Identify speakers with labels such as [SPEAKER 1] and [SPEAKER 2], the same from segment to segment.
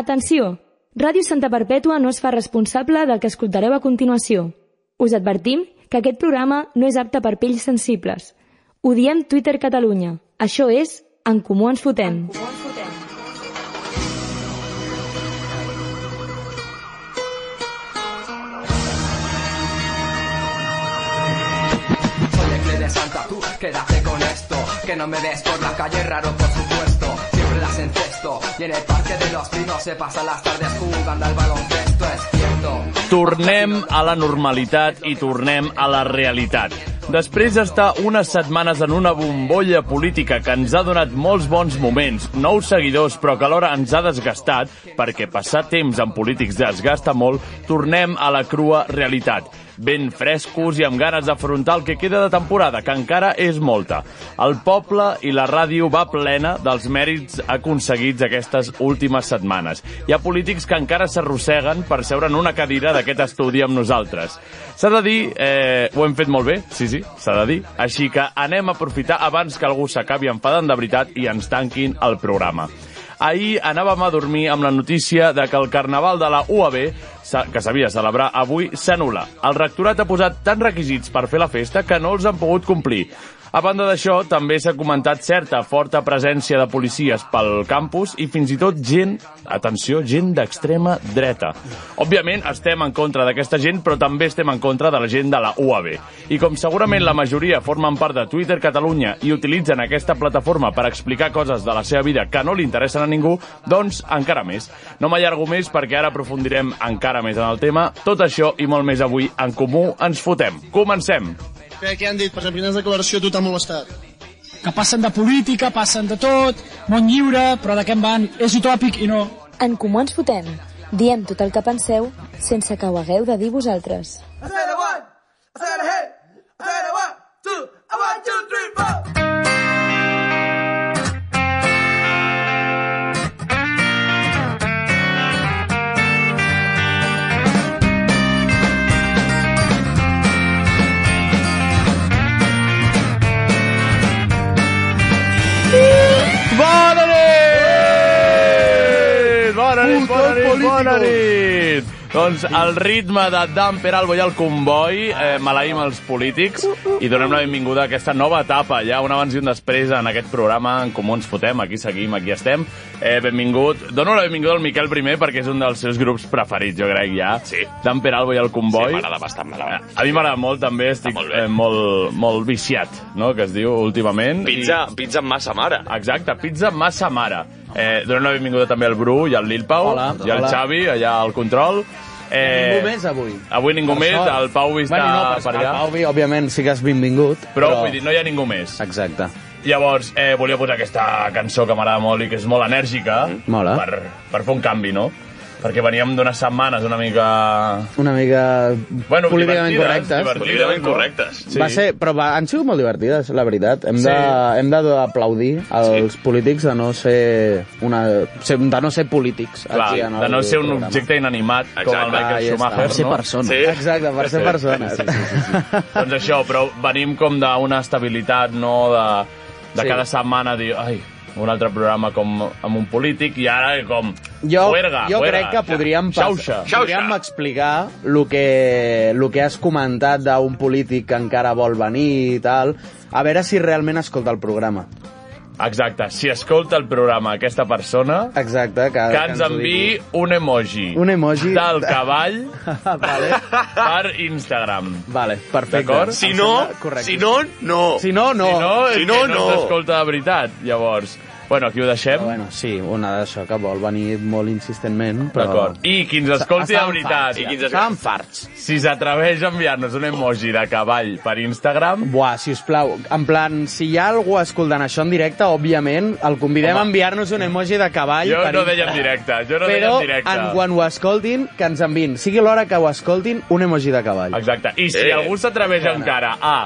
[SPEAKER 1] Atenció! Ràdio Santa Perpètua no es fa responsable del que escoltareu a continuació. Us advertim que aquest programa no és apte per pells sensibles. Ho diem Twitter Catalunya. Això és En Comú Ens Fotem.
[SPEAKER 2] Soy el clé de Santa, tú quédate con esto. Que no me ves por la calle, raro por supuesto. Siempre las encesto. Y en el parque de los pinos se pasan las tardes jugando al baloncesto, es cierto.
[SPEAKER 3] Tornem a la normalitat i tornem a la realitat. Després d'estar unes setmanes en una bombolla política que ens ha donat molts bons moments, nous seguidors, però que alhora ens ha desgastat, perquè passar temps amb polítics desgasta molt, tornem a la crua realitat. Ben frescos i amb ganes d'afrontar el que queda de temporada, que encara és molta. El poble i la ràdio va plena dels mèrits aconseguits aquestes últimes setmanes. Hi ha polítics que encara s'arrosseguen per seure en una cadira d'aquest estudi amb nosaltres. S'ha de dir, eh, ho hem fet molt bé, sí, sí, s'ha de dir. Així que anem a aprofitar abans que algú s'acabi enfadant de veritat i ens tanquin el programa. Ahir anàvem a dormir amb la notícia de que el carnaval de la UAB, sa- que s'havia de celebrar avui, s'anula. El rectorat ha posat tants requisits per fer la festa que no els han pogut complir. A banda d'això, també s'ha comentat certa forta presència de policies pel campus i fins i tot gent, atenció, gent d'extrema dreta. Òbviament, estem en contra d'aquesta gent, però també estem en contra de la gent de la UAB. I com segurament la majoria formen part de Twitter Catalunya i utilitzen aquesta plataforma per explicar coses de la seva vida que no li interessen a ningú, doncs encara més. No m'allargo més perquè ara aprofundirem encara més en el tema. Tot això i molt més avui en comú ens fotem. Comencem!
[SPEAKER 4] Què, què han dit? Per exemple, quines declaracions tu t'ha molestat?
[SPEAKER 5] que passen de política, passen de tot, món lliure, però de què en van? És utòpic i no.
[SPEAKER 6] En Comú Ens Fotem. Diem tot el que penseu sense que ho hagueu de dir vosaltres.
[SPEAKER 2] I said a one, I said a hey, I said a one, two, a one, two, three, four.
[SPEAKER 3] Bona nit! Bona nit, bona
[SPEAKER 4] Cultor
[SPEAKER 3] nit, bona
[SPEAKER 4] político.
[SPEAKER 3] nit! Doncs el ritme de Dan Peralbo i el comboi, eh, maleïm els polítics i donem la benvinguda a aquesta nova etapa, ja un abans i un després en aquest programa en comú ens fotem, aquí seguim, aquí estem. Eh, benvingut, dono la benvinguda al Miquel primer perquè és un dels seus grups preferits, jo crec, ja.
[SPEAKER 7] Sí.
[SPEAKER 3] Dan Peralbo i el comboi.
[SPEAKER 7] Sí, m'agrada bastant, m'agrada.
[SPEAKER 3] Eh, A mi m'agrada molt, també, estic
[SPEAKER 7] molt bé.
[SPEAKER 3] eh, molt, molt viciat, no?, que es diu últimament.
[SPEAKER 7] Pizza, pizza amb massa mare.
[SPEAKER 3] Exacte, pizza massa mare. Eh, donem la benvinguda també al Bru i al Lil Pau
[SPEAKER 8] Hola.
[SPEAKER 3] i al
[SPEAKER 8] Hola.
[SPEAKER 3] Xavi, allà al control. Eh,
[SPEAKER 8] Ningú més avui.
[SPEAKER 3] Avui ningú
[SPEAKER 8] Per
[SPEAKER 3] més,
[SPEAKER 8] sort.
[SPEAKER 3] el Pau està
[SPEAKER 8] bueno, no,
[SPEAKER 3] per
[SPEAKER 8] per
[SPEAKER 3] allà.
[SPEAKER 8] El Pau, Vi, òbviament, sí que has benvingut.
[SPEAKER 3] Però, vull dir, no hi ha ningú més.
[SPEAKER 8] Exacte.
[SPEAKER 3] Llavors, eh, volia posar aquesta cançó que m'agrada molt i que és molt enèrgica
[SPEAKER 8] Mm. Mola.
[SPEAKER 3] per, per fer un canvi, no? Perquè veníem d'unes setmanes una mica...
[SPEAKER 8] Una mica
[SPEAKER 3] Bueno,
[SPEAKER 8] políticament
[SPEAKER 3] divertides,
[SPEAKER 8] correctes.
[SPEAKER 3] divertides,
[SPEAKER 7] Políticament
[SPEAKER 3] no?
[SPEAKER 7] correctes.
[SPEAKER 3] Sí.
[SPEAKER 8] Va ser, però va, han sigut molt divertides, la veritat. Hem
[SPEAKER 3] Sí.
[SPEAKER 8] de, hem de aplaudir als polítics de no ser, una, ser- de no ser polítics.
[SPEAKER 3] Clar,
[SPEAKER 8] aquí en
[SPEAKER 3] de
[SPEAKER 8] el
[SPEAKER 3] no ser un
[SPEAKER 8] programa.
[SPEAKER 3] objecte inanimat com
[SPEAKER 7] Exacte.
[SPEAKER 3] el Michael
[SPEAKER 8] Ahí està.
[SPEAKER 3] Schumacher,
[SPEAKER 8] Per ser
[SPEAKER 3] no?
[SPEAKER 8] persones.
[SPEAKER 7] Sí.
[SPEAKER 8] Exacte, per ser persones. Sí, sí, sí, sí.
[SPEAKER 3] doncs això, però venim com d'una estabilitat, no?, de, de
[SPEAKER 8] Sí.
[SPEAKER 3] sí. cada setmana dir, ai, un altre programa com amb un polític i ara com...
[SPEAKER 8] Jo,
[SPEAKER 3] juerga,
[SPEAKER 8] jo
[SPEAKER 3] juerga,
[SPEAKER 8] crec que podríem, pas,
[SPEAKER 3] Xauxa.
[SPEAKER 8] podríem explicar el que, lo que has comentat d'un polític que encara vol venir i tal, a veure si realment escolta el programa.
[SPEAKER 3] Exacte, si escolta el programa aquesta persona,
[SPEAKER 8] Exacte, que,
[SPEAKER 3] que ens
[SPEAKER 8] ho
[SPEAKER 3] enviï un emoji.
[SPEAKER 8] Un emoji.
[SPEAKER 3] Del cavall
[SPEAKER 8] digui. vale,
[SPEAKER 3] per Instagram.
[SPEAKER 8] vale, perfecte.
[SPEAKER 3] D'acord?
[SPEAKER 7] Si
[SPEAKER 8] Em
[SPEAKER 7] no,
[SPEAKER 8] sembla correcte.
[SPEAKER 7] si no, no.
[SPEAKER 8] si no, no.
[SPEAKER 3] Si no, és
[SPEAKER 7] Si no,
[SPEAKER 3] que no,
[SPEAKER 7] no.
[SPEAKER 3] s'escolta de veritat, llavors. Bueno, aquí ho deixem.
[SPEAKER 8] Però Ah, bueno, sí, una d'això que vol venir molt insistentment, però...
[SPEAKER 3] D'acord. I qui ens escolti de
[SPEAKER 8] Està en
[SPEAKER 3] veritat,
[SPEAKER 8] farts,
[SPEAKER 7] I qui ens
[SPEAKER 8] ja. Està en farts.
[SPEAKER 3] si s'atreveix a enviar-nos un emoji de cavall per Instagram,
[SPEAKER 8] Buah, si us plau, en plan, si hi ha algú escoltant això en directe, òbviament, el convidem
[SPEAKER 3] Home.
[SPEAKER 8] a enviar-nos un emoji de cavall.
[SPEAKER 3] Jo
[SPEAKER 8] per
[SPEAKER 3] no
[SPEAKER 8] Insta.
[SPEAKER 3] deia en directe, jo no
[SPEAKER 8] Però
[SPEAKER 3] deia en directe.
[SPEAKER 8] en quan ho escoltin, que ens envin, sigui l'hora que ho escoltin, un emoji de cavall.
[SPEAKER 3] Exacte. I si
[SPEAKER 7] Eh.
[SPEAKER 3] algú s'atreveix encara a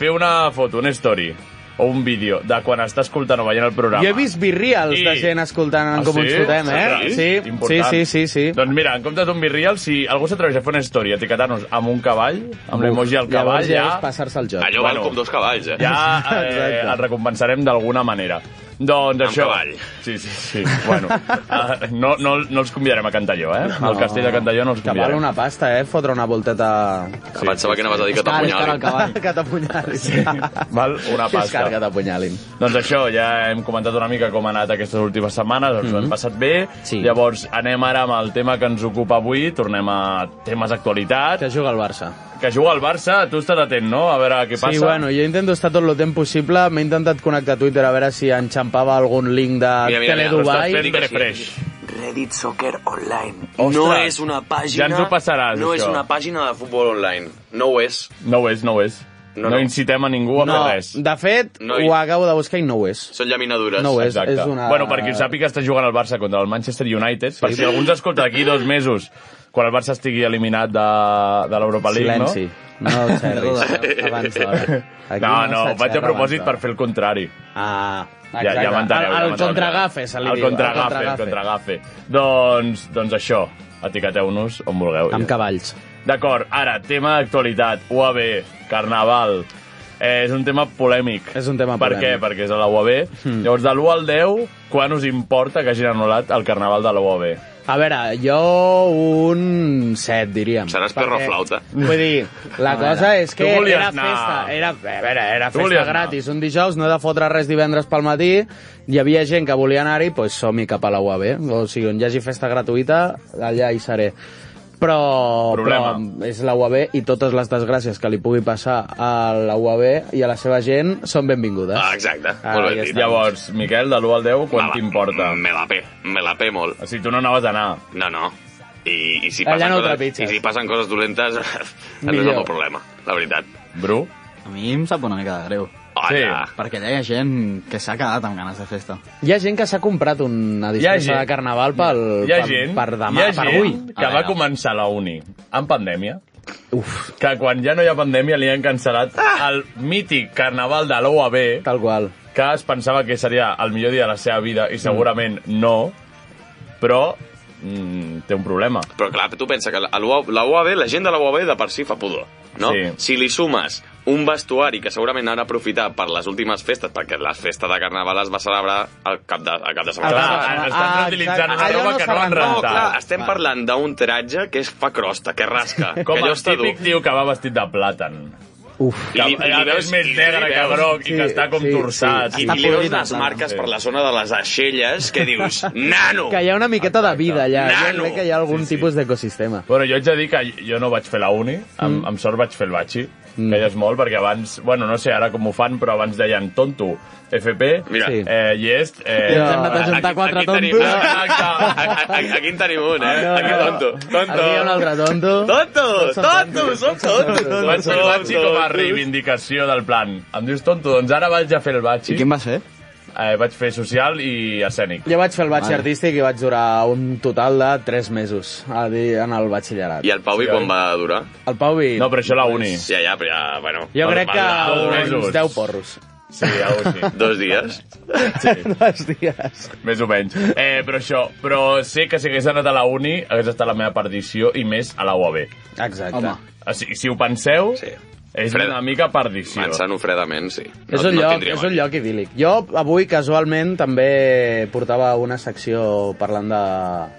[SPEAKER 3] fer una foto, una story o un vídeo de quan està escoltant o veient el programa...
[SPEAKER 8] Jo he vist birreals
[SPEAKER 3] I-
[SPEAKER 8] de gent escoltant en
[SPEAKER 3] Ah,
[SPEAKER 8] com ens
[SPEAKER 3] sí?
[SPEAKER 8] fotem, eh?
[SPEAKER 3] Ostres,
[SPEAKER 8] Sí,
[SPEAKER 3] important.
[SPEAKER 8] sí, sí, sí. sí.
[SPEAKER 3] Doncs mira, en comptes d'un birrial, si algú s'atreveix a fer una història, etiquetar-nos amb un cavall, amb l'emoji del
[SPEAKER 8] Llavors
[SPEAKER 3] cavall,
[SPEAKER 8] ja és
[SPEAKER 3] ja,
[SPEAKER 8] passar-se el joc.
[SPEAKER 7] Allò
[SPEAKER 3] Bueno.
[SPEAKER 7] val com dos cavalls, eh?
[SPEAKER 3] ja eh,
[SPEAKER 8] Exacte.
[SPEAKER 3] el recompensarem d'alguna manera. Doncs
[SPEAKER 7] Amb
[SPEAKER 3] això...
[SPEAKER 7] cavall.
[SPEAKER 3] Sí, sí, sí. Bueno, uh, no, no, no els convidarem a Cantalló, eh? Al castell de Cantalló no els
[SPEAKER 8] Que val
[SPEAKER 3] convidarem.
[SPEAKER 8] una pasta, eh? Fotre una volteta...
[SPEAKER 7] Sí, Pensava que anaves a dir que t'apunyalin.
[SPEAKER 8] que t'apunyalin. Sí.
[SPEAKER 3] Val una
[SPEAKER 8] És car que
[SPEAKER 3] pasta.
[SPEAKER 8] t'apunyalin.
[SPEAKER 3] Doncs això, ja hem comentat una mica com ha anat aquestes últimes setmanes, ens ho
[SPEAKER 8] Mhm.
[SPEAKER 3] hem passat bé.
[SPEAKER 9] Sí.
[SPEAKER 3] Llavors, anem ara amb el tema que ens ocupa avui, tornem a temes d'actualitat,
[SPEAKER 8] Que juga el Barça.
[SPEAKER 3] que juga el Barça, tu estàs atent, no? A veure què passa.
[SPEAKER 8] Sí, bueno, jo intento estar tot el temps possible. M'he intentat connectar a Twitter a veure si enxampava algun link de
[SPEAKER 7] Mira, mira, mira,
[SPEAKER 8] Teledubai.
[SPEAKER 3] Estàs fent refresh.
[SPEAKER 10] Reddit Soccer Online.
[SPEAKER 3] Ostres,
[SPEAKER 7] No
[SPEAKER 10] no
[SPEAKER 7] és
[SPEAKER 10] és una
[SPEAKER 3] ja
[SPEAKER 10] pàgina...
[SPEAKER 3] ens ho passaràs,
[SPEAKER 7] No és
[SPEAKER 3] això.
[SPEAKER 7] una pàgina de futbol online. No ho és.
[SPEAKER 3] No ho és, no ho és. No,
[SPEAKER 7] No,
[SPEAKER 3] no.
[SPEAKER 7] no.
[SPEAKER 3] incitem a ningú a
[SPEAKER 8] no,
[SPEAKER 3] fer res.
[SPEAKER 8] de fet,
[SPEAKER 7] No hi-
[SPEAKER 8] ho acabo de buscar i no ho és.
[SPEAKER 7] Són llaminadures.
[SPEAKER 8] No ho és,
[SPEAKER 3] Exacte.
[SPEAKER 8] és una...
[SPEAKER 3] Bueno, per qui ho sàpiga, està jugant el Barça contra el Manchester United. Per si algú ens escolta d'aquí dos mesos, quan el Barça estigui eliminat de, de l'Europa League,
[SPEAKER 8] Silenci. No, no xerris. abans d'hora.
[SPEAKER 3] no?
[SPEAKER 8] Aquí
[SPEAKER 3] No, no,
[SPEAKER 8] s'ha
[SPEAKER 3] ho vaig
[SPEAKER 8] xerrat
[SPEAKER 3] a propòsit per
[SPEAKER 8] abans
[SPEAKER 3] fer el contrari.
[SPEAKER 8] d'hora. Ah,
[SPEAKER 3] Ja, ja m'enteneu.
[SPEAKER 8] El,
[SPEAKER 3] ja
[SPEAKER 8] el
[SPEAKER 3] m'enteneu.
[SPEAKER 8] contragafe, se li
[SPEAKER 3] El
[SPEAKER 8] diu,
[SPEAKER 3] contragafe, el contragafe. Doncs, doncs això, etiqueteu-nos on vulgueu.
[SPEAKER 9] Amb cavalls.
[SPEAKER 3] D'acord, ara, tema d'actualitat, UAB, Carnaval... Eh, és un tema polèmic.
[SPEAKER 8] És un tema
[SPEAKER 3] per
[SPEAKER 8] polèmic. Hmm.
[SPEAKER 3] Per què? Perquè és a la UAB. Mm. Llavors, de l'1 al 10, quan us importa que hagin anul·lat el Carnaval de la UAB?
[SPEAKER 8] A veure, jo un set, diríem.
[SPEAKER 7] Seràs
[SPEAKER 8] Perquè-
[SPEAKER 7] perroflauta.
[SPEAKER 8] Vull dir, la cosa és que
[SPEAKER 3] Tu volies
[SPEAKER 8] era
[SPEAKER 3] anar.
[SPEAKER 8] festa, era, a veure, era
[SPEAKER 3] Tu volies
[SPEAKER 8] festa
[SPEAKER 3] anar.
[SPEAKER 8] gratis. Un dijous no he de fotre res divendres pel matí, hi havia gent que volia anar-hi, doncs som-hi cap a la UAB. O sigui, on hi hagi festa gratuïta, allà hi seré. Però,
[SPEAKER 3] Problema.
[SPEAKER 8] però és la UAB i totes les desgràcies que li pugui passar a la UAB i a la seva gent són benvingudes.
[SPEAKER 7] Ah, exacte.
[SPEAKER 8] Ah,
[SPEAKER 7] Molt
[SPEAKER 8] ja
[SPEAKER 7] bé dit.
[SPEAKER 8] està.
[SPEAKER 3] Llavors, Miquel, de l'1 al 10,
[SPEAKER 7] Me
[SPEAKER 3] quan
[SPEAKER 7] la-
[SPEAKER 3] t'importa?
[SPEAKER 7] Mm, Me la pe. Me la pe molt.
[SPEAKER 3] O sigui, tu no anaves a anar.
[SPEAKER 7] No, no. I, i si
[SPEAKER 8] Allà
[SPEAKER 7] passen,
[SPEAKER 8] no ho
[SPEAKER 7] coses,
[SPEAKER 8] trepitges.
[SPEAKER 7] i si passen coses dolentes, no és el
[SPEAKER 8] Millor.
[SPEAKER 7] meu problema, la veritat.
[SPEAKER 3] Bru?
[SPEAKER 9] A mi em sap una mica de greu,
[SPEAKER 7] Hola.
[SPEAKER 3] Sí.
[SPEAKER 9] perquè allà hi ha gent que s'ha quedat amb ganes de festa.
[SPEAKER 8] Hi ha gent que s'ha comprat
[SPEAKER 3] Hi
[SPEAKER 8] una
[SPEAKER 3] ha
[SPEAKER 8] disfressa
[SPEAKER 3] gent-
[SPEAKER 8] de carnaval pel,
[SPEAKER 3] Hi ha
[SPEAKER 8] pel,
[SPEAKER 3] gent,
[SPEAKER 8] per demà,
[SPEAKER 3] hi ha
[SPEAKER 8] per
[SPEAKER 3] gent
[SPEAKER 8] avui.
[SPEAKER 3] que
[SPEAKER 9] A
[SPEAKER 3] va
[SPEAKER 9] veure.
[SPEAKER 3] començar la uni en pandèmia, Uf. que quan ja no hi ha pandèmia li han cancel·lat
[SPEAKER 8] Ah!
[SPEAKER 3] el mític Carnaval de l'OAB,
[SPEAKER 8] Tal qual.
[SPEAKER 3] que es pensava que seria el millor dia de la seva vida, i segurament no, però mm, té un problema.
[SPEAKER 7] Però clar, tu pensa que la, a l'UAB la UAB, la gent de la UAB de per si fa pudor, no?
[SPEAKER 3] Sí.
[SPEAKER 7] Si li sumes un vestuari que segurament han aprofitat per les últimes festes, perquè la festa de Carnaval es va celebrar al cap de, al cap de setmana.
[SPEAKER 3] Clar,
[SPEAKER 8] Ah,
[SPEAKER 3] estan
[SPEAKER 8] ah,
[SPEAKER 3] reutilitzant una roba
[SPEAKER 8] exacte. Allò no
[SPEAKER 3] que no
[SPEAKER 8] s'ha
[SPEAKER 3] han
[SPEAKER 8] rentat.
[SPEAKER 7] no, clar,
[SPEAKER 3] rentat.
[SPEAKER 7] estem parlant d'un tratge que és fa crosta, que rasca.
[SPEAKER 3] Com
[SPEAKER 7] que allò
[SPEAKER 3] el
[SPEAKER 7] està dur.
[SPEAKER 3] típic tio que va vestit de plàtan.
[SPEAKER 8] Uf.
[SPEAKER 7] I li,
[SPEAKER 3] Que
[SPEAKER 7] i li veus,
[SPEAKER 3] és més
[SPEAKER 7] i li
[SPEAKER 3] negre que
[SPEAKER 7] veus-
[SPEAKER 3] groc i
[SPEAKER 8] Sí,
[SPEAKER 3] que està com
[SPEAKER 8] sí, sí.
[SPEAKER 3] torçat. I-
[SPEAKER 7] I, i li veus
[SPEAKER 9] podrit,
[SPEAKER 7] les
[SPEAKER 9] clar,
[SPEAKER 7] marques
[SPEAKER 3] sí.
[SPEAKER 7] per la zona de les aixelles que dius, nano!
[SPEAKER 8] Que hi ha una miqueta de vida allà.
[SPEAKER 7] Nano.
[SPEAKER 8] Jo crec que hi ha algun
[SPEAKER 3] Sí, sí.
[SPEAKER 8] sí, sí. tipus d'ecosistema.
[SPEAKER 3] Bueno, jo haig de dir que jo no vaig fer la uni,
[SPEAKER 8] Mm.
[SPEAKER 3] amb, amb sort vaig fer el batxi, que ja és molt, perquè abans, bueno, no sé ara com ho fan, però abans deien tonto, FP,
[SPEAKER 7] Mira.
[SPEAKER 8] Sí.
[SPEAKER 3] eh, llest... Eh,
[SPEAKER 8] I ens hem anat a juntar
[SPEAKER 7] Aquí-
[SPEAKER 8] quatre
[SPEAKER 7] aquí tenim-
[SPEAKER 8] tontos.
[SPEAKER 7] Exacte. A- a- Aquí en tenim un,
[SPEAKER 3] Ah,
[SPEAKER 7] eh? Aquí tonto. Tonto.
[SPEAKER 8] Aquí hi ha un altre tonto.
[SPEAKER 7] Tontos, tontos, som tontos.
[SPEAKER 3] vaig fer el batxi com a reivindicació del plan. Em dius tonto, doncs ara vaig a fer el batxi.
[SPEAKER 9] I quin va ser?
[SPEAKER 3] Eh, vaig fer social i escènic.
[SPEAKER 8] Jo vaig fer el batxi artístic i vaig durar un total de 3 mesos a dir, en el batxillerat.
[SPEAKER 7] I el Pau i quan va durar?
[SPEAKER 8] El Pau i...
[SPEAKER 3] No, però això a la uni.
[SPEAKER 7] Ja, ja, però ja, bueno.
[SPEAKER 8] Jo
[SPEAKER 7] normal,
[SPEAKER 8] crec que
[SPEAKER 3] dos
[SPEAKER 7] dos
[SPEAKER 3] mesos.
[SPEAKER 8] uns 10 porros.
[SPEAKER 3] Sí, algo així.
[SPEAKER 7] Dos dies.
[SPEAKER 8] Dos dies.
[SPEAKER 3] Més o menys. Eh, però això, però sé que si hagués anat a la uni hagués estat la meva perdició i més a la UAB.
[SPEAKER 8] Exacte.
[SPEAKER 9] Home.
[SPEAKER 3] O sigui, si ho penseu,
[SPEAKER 7] Sí.
[SPEAKER 3] és
[SPEAKER 7] Fred.
[SPEAKER 3] una mica perdició.
[SPEAKER 7] Pensant-ho fredament, sí. No,
[SPEAKER 8] és un,
[SPEAKER 7] no
[SPEAKER 8] lloc,
[SPEAKER 7] tindria
[SPEAKER 8] és
[SPEAKER 7] mal.
[SPEAKER 3] eh?
[SPEAKER 8] un lloc idíl·lic. Jo avui casualment també portava una secció parlant de,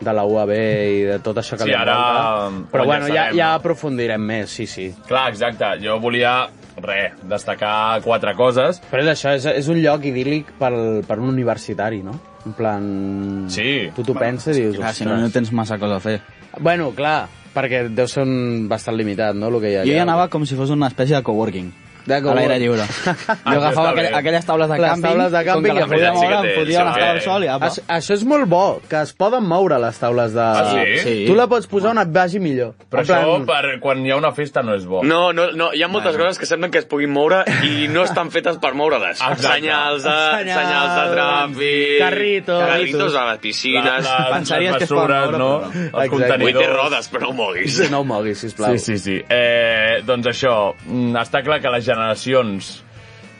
[SPEAKER 8] de la UAB i de tot això que
[SPEAKER 3] Sí,
[SPEAKER 8] li
[SPEAKER 3] ara, mm,
[SPEAKER 8] envolta.
[SPEAKER 3] quan ja
[SPEAKER 8] Però bueno, ja,
[SPEAKER 3] sabem,
[SPEAKER 8] ja
[SPEAKER 3] no?
[SPEAKER 8] aprofundirem més, sí, sí.
[SPEAKER 3] Clar, exacte. Jo volia, re, destacar quatre coses.
[SPEAKER 8] Però és això, és, és un lloc idíl·lic pel, per un universitari, no? En plan...
[SPEAKER 3] Sí.
[SPEAKER 8] Tu t'ho penses i dius,
[SPEAKER 9] Clar, si no, no
[SPEAKER 8] ostres...
[SPEAKER 9] tens massa cosa a fer.
[SPEAKER 8] Bueno, clar, perquè deu ser un bastant limitat, no?, el que hi ha
[SPEAKER 9] Jo hi
[SPEAKER 8] allà.
[SPEAKER 9] anava com si fos una espècie de coworking.
[SPEAKER 8] De
[SPEAKER 9] A l'aire
[SPEAKER 8] coworking.
[SPEAKER 9] lliure.
[SPEAKER 3] Ah,
[SPEAKER 9] Jo
[SPEAKER 3] està
[SPEAKER 9] agafava aquell,
[SPEAKER 3] bé.
[SPEAKER 9] aquelles taules de
[SPEAKER 8] Les
[SPEAKER 9] càmping,
[SPEAKER 8] taules de
[SPEAKER 9] com
[SPEAKER 8] càmping
[SPEAKER 9] que
[SPEAKER 8] que
[SPEAKER 9] les podia
[SPEAKER 7] sí que
[SPEAKER 9] moure, em
[SPEAKER 7] té, sí
[SPEAKER 9] podia
[SPEAKER 7] que
[SPEAKER 9] l'estar al
[SPEAKER 7] té.
[SPEAKER 9] sol i apa.
[SPEAKER 8] Això, això és molt bo, que es poden moure les taules de...
[SPEAKER 3] Ah, sí?
[SPEAKER 9] Sí.
[SPEAKER 8] Tu la pots posar on et vagi millor.
[SPEAKER 3] Però
[SPEAKER 8] En
[SPEAKER 3] això, per quan hi ha una festa, no és bo.
[SPEAKER 7] No, no, no, hi ha moltes coses que semblen que es puguin moure i no estan fetes per moure-les.
[SPEAKER 3] Exacte.
[SPEAKER 7] Senyals de,
[SPEAKER 8] Senyals,
[SPEAKER 7] senyals de tràfic...
[SPEAKER 8] carritos.
[SPEAKER 7] Carritos a les
[SPEAKER 3] La,
[SPEAKER 7] piscines...
[SPEAKER 3] la,
[SPEAKER 9] Pensaries
[SPEAKER 3] les
[SPEAKER 9] que es poden
[SPEAKER 3] mesures,
[SPEAKER 9] moure,
[SPEAKER 3] no?
[SPEAKER 9] però no.
[SPEAKER 3] Els
[SPEAKER 8] Exacte.
[SPEAKER 7] Vull
[SPEAKER 3] contenidors...
[SPEAKER 7] té rodes, però no ho moguis.
[SPEAKER 8] No ho moguis, sisplau.
[SPEAKER 3] Sí, sí, sí. Eh, doncs això, mm, està clar que les generacions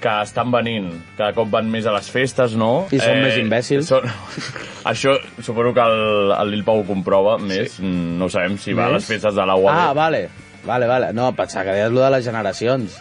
[SPEAKER 3] que estan venint, cada cop van més a les festes, no? Eh,
[SPEAKER 8] I són més imbècils.
[SPEAKER 3] Són... Això suposo que el, el Lil Pau ho comprova més. Sí. No sabem si va a les
[SPEAKER 8] Més?
[SPEAKER 3] festes de la UAB.
[SPEAKER 8] Ah, vale. Vale, vale. No, pensava que deies allò de les generacions.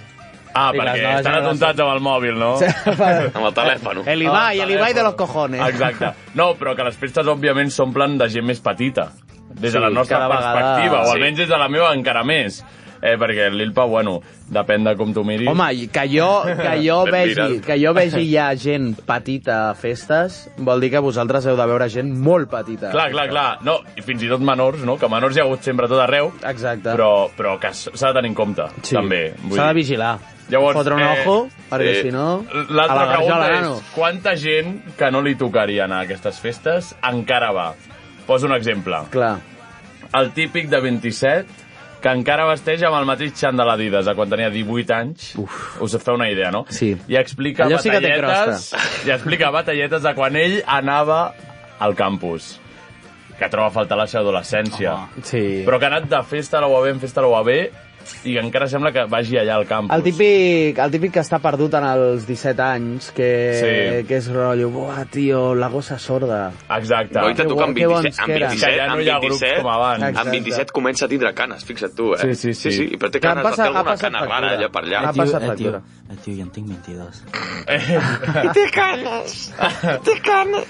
[SPEAKER 3] Ah,
[SPEAKER 8] I les
[SPEAKER 3] perquè
[SPEAKER 8] noves
[SPEAKER 3] estan
[SPEAKER 8] generacions-
[SPEAKER 3] atontats amb el mòbil, no?
[SPEAKER 7] amb el telèfon.
[SPEAKER 8] El Ibai, el Ibai de los cojones.
[SPEAKER 3] Oh, Exacte. No, però que les festes, òbviament, s'omplen de gent més petita. Des de
[SPEAKER 8] Sí,
[SPEAKER 3] la nostra
[SPEAKER 8] cada vegada-
[SPEAKER 3] perspectiva, o
[SPEAKER 8] Sí.
[SPEAKER 3] almenys des de la meva encara més. Eh, perquè l'Ilpa, bueno, depèn de com tu miris.
[SPEAKER 8] Home, i que jo, que jo,
[SPEAKER 3] Ben
[SPEAKER 8] vegi,
[SPEAKER 3] mirat.
[SPEAKER 8] que jo vegi ja gent petita a festes, vol dir que vosaltres heu de veure gent molt petita.
[SPEAKER 3] Clar, clar, clar. No, i fins i tot menors, no? Que menors hi ha hagut sempre a tot arreu.
[SPEAKER 8] Exacte.
[SPEAKER 3] Però, però que s- s'ha de tenir en compte,
[SPEAKER 8] Sí.
[SPEAKER 3] també. Vull
[SPEAKER 8] S'ha de
[SPEAKER 3] dir.
[SPEAKER 8] vigilar.
[SPEAKER 3] Llavors,
[SPEAKER 8] Fotre un
[SPEAKER 3] eh,
[SPEAKER 8] ojo, perquè
[SPEAKER 3] sí.
[SPEAKER 8] si no... a
[SPEAKER 3] L'altra
[SPEAKER 8] la garjola,
[SPEAKER 3] pregunta
[SPEAKER 8] nano.
[SPEAKER 3] és, quanta gent que no li tocaria anar a aquestes festes encara va? Poso un exemple.
[SPEAKER 8] Clar.
[SPEAKER 3] El típic de 27 que encara vesteix amb el mateix xandall Adidas de quan tenia 18 anys. Uf. Us fa una idea, no?
[SPEAKER 8] Sí.
[SPEAKER 3] I explica
[SPEAKER 8] Allò sí que té
[SPEAKER 3] batalletes, i explica batalletes de quan ell anava al campus que troba a faltar la seva adolescència.
[SPEAKER 8] Sí.
[SPEAKER 3] Ah. Però que ha anat de festa a la UAB en festa a la UAB i encara sembla que vagi allà al campus.
[SPEAKER 8] El típic, el típic que està perdut en els 17 anys, que,
[SPEAKER 3] Sí.
[SPEAKER 8] que és rotllo, buah, tio, la gossa sorda.
[SPEAKER 3] Exacte.
[SPEAKER 7] Oi,
[SPEAKER 8] Que
[SPEAKER 7] tu que amb
[SPEAKER 8] bo- que bons
[SPEAKER 7] 27, amb
[SPEAKER 8] que eren.
[SPEAKER 7] 27,
[SPEAKER 8] Que
[SPEAKER 3] ja no
[SPEAKER 7] amb
[SPEAKER 3] hi ha grups
[SPEAKER 7] 27,
[SPEAKER 3] com abans.
[SPEAKER 7] amb
[SPEAKER 8] Exacte.
[SPEAKER 7] 27 comença a tindre canes, fixa't tu, eh?
[SPEAKER 3] Sí, sí, sí.
[SPEAKER 7] sí, sí però té
[SPEAKER 8] Que ha
[SPEAKER 7] canes, té
[SPEAKER 8] passat- ha
[SPEAKER 7] alguna
[SPEAKER 8] passat
[SPEAKER 7] cana rara
[SPEAKER 8] factura.
[SPEAKER 7] allà per allà.
[SPEAKER 8] Ha passat
[SPEAKER 9] eh, tio,
[SPEAKER 8] factura.
[SPEAKER 9] eh, tio, jo en tinc 22.
[SPEAKER 3] Eh,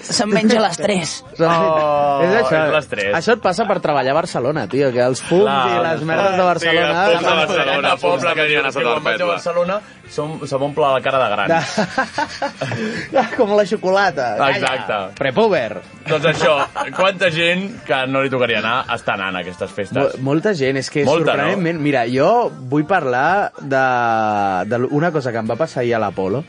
[SPEAKER 5] Se'n menja a les 3.
[SPEAKER 3] Oh,
[SPEAKER 8] és això.
[SPEAKER 3] és l'estrès.
[SPEAKER 8] Això et passa per treballar a Barcelona, tio, que els fums
[SPEAKER 3] Clar,
[SPEAKER 8] i les merdes de Barcelona...
[SPEAKER 7] Sí, els fums de Barcelona,
[SPEAKER 3] Barcelona,
[SPEAKER 7] fums
[SPEAKER 3] poble,
[SPEAKER 7] que
[SPEAKER 3] que
[SPEAKER 7] havien
[SPEAKER 3] diuen,
[SPEAKER 7] estat
[SPEAKER 3] que quan vaig a
[SPEAKER 7] perpètua.
[SPEAKER 3] Barcelona som- se m'omple la cara de gran.
[SPEAKER 8] Com la xocolata. Calla.
[SPEAKER 3] Exacte.
[SPEAKER 8] Prepover.
[SPEAKER 3] Doncs això, quanta gent que no li tocaria anar està anant a aquestes festes?
[SPEAKER 8] Mo- molta gent, és que
[SPEAKER 3] Molta,
[SPEAKER 8] Molta, sorprenentment... No? Mira, jo vull parlar de, de l- una cosa que em va passar ahir a l'Apolo.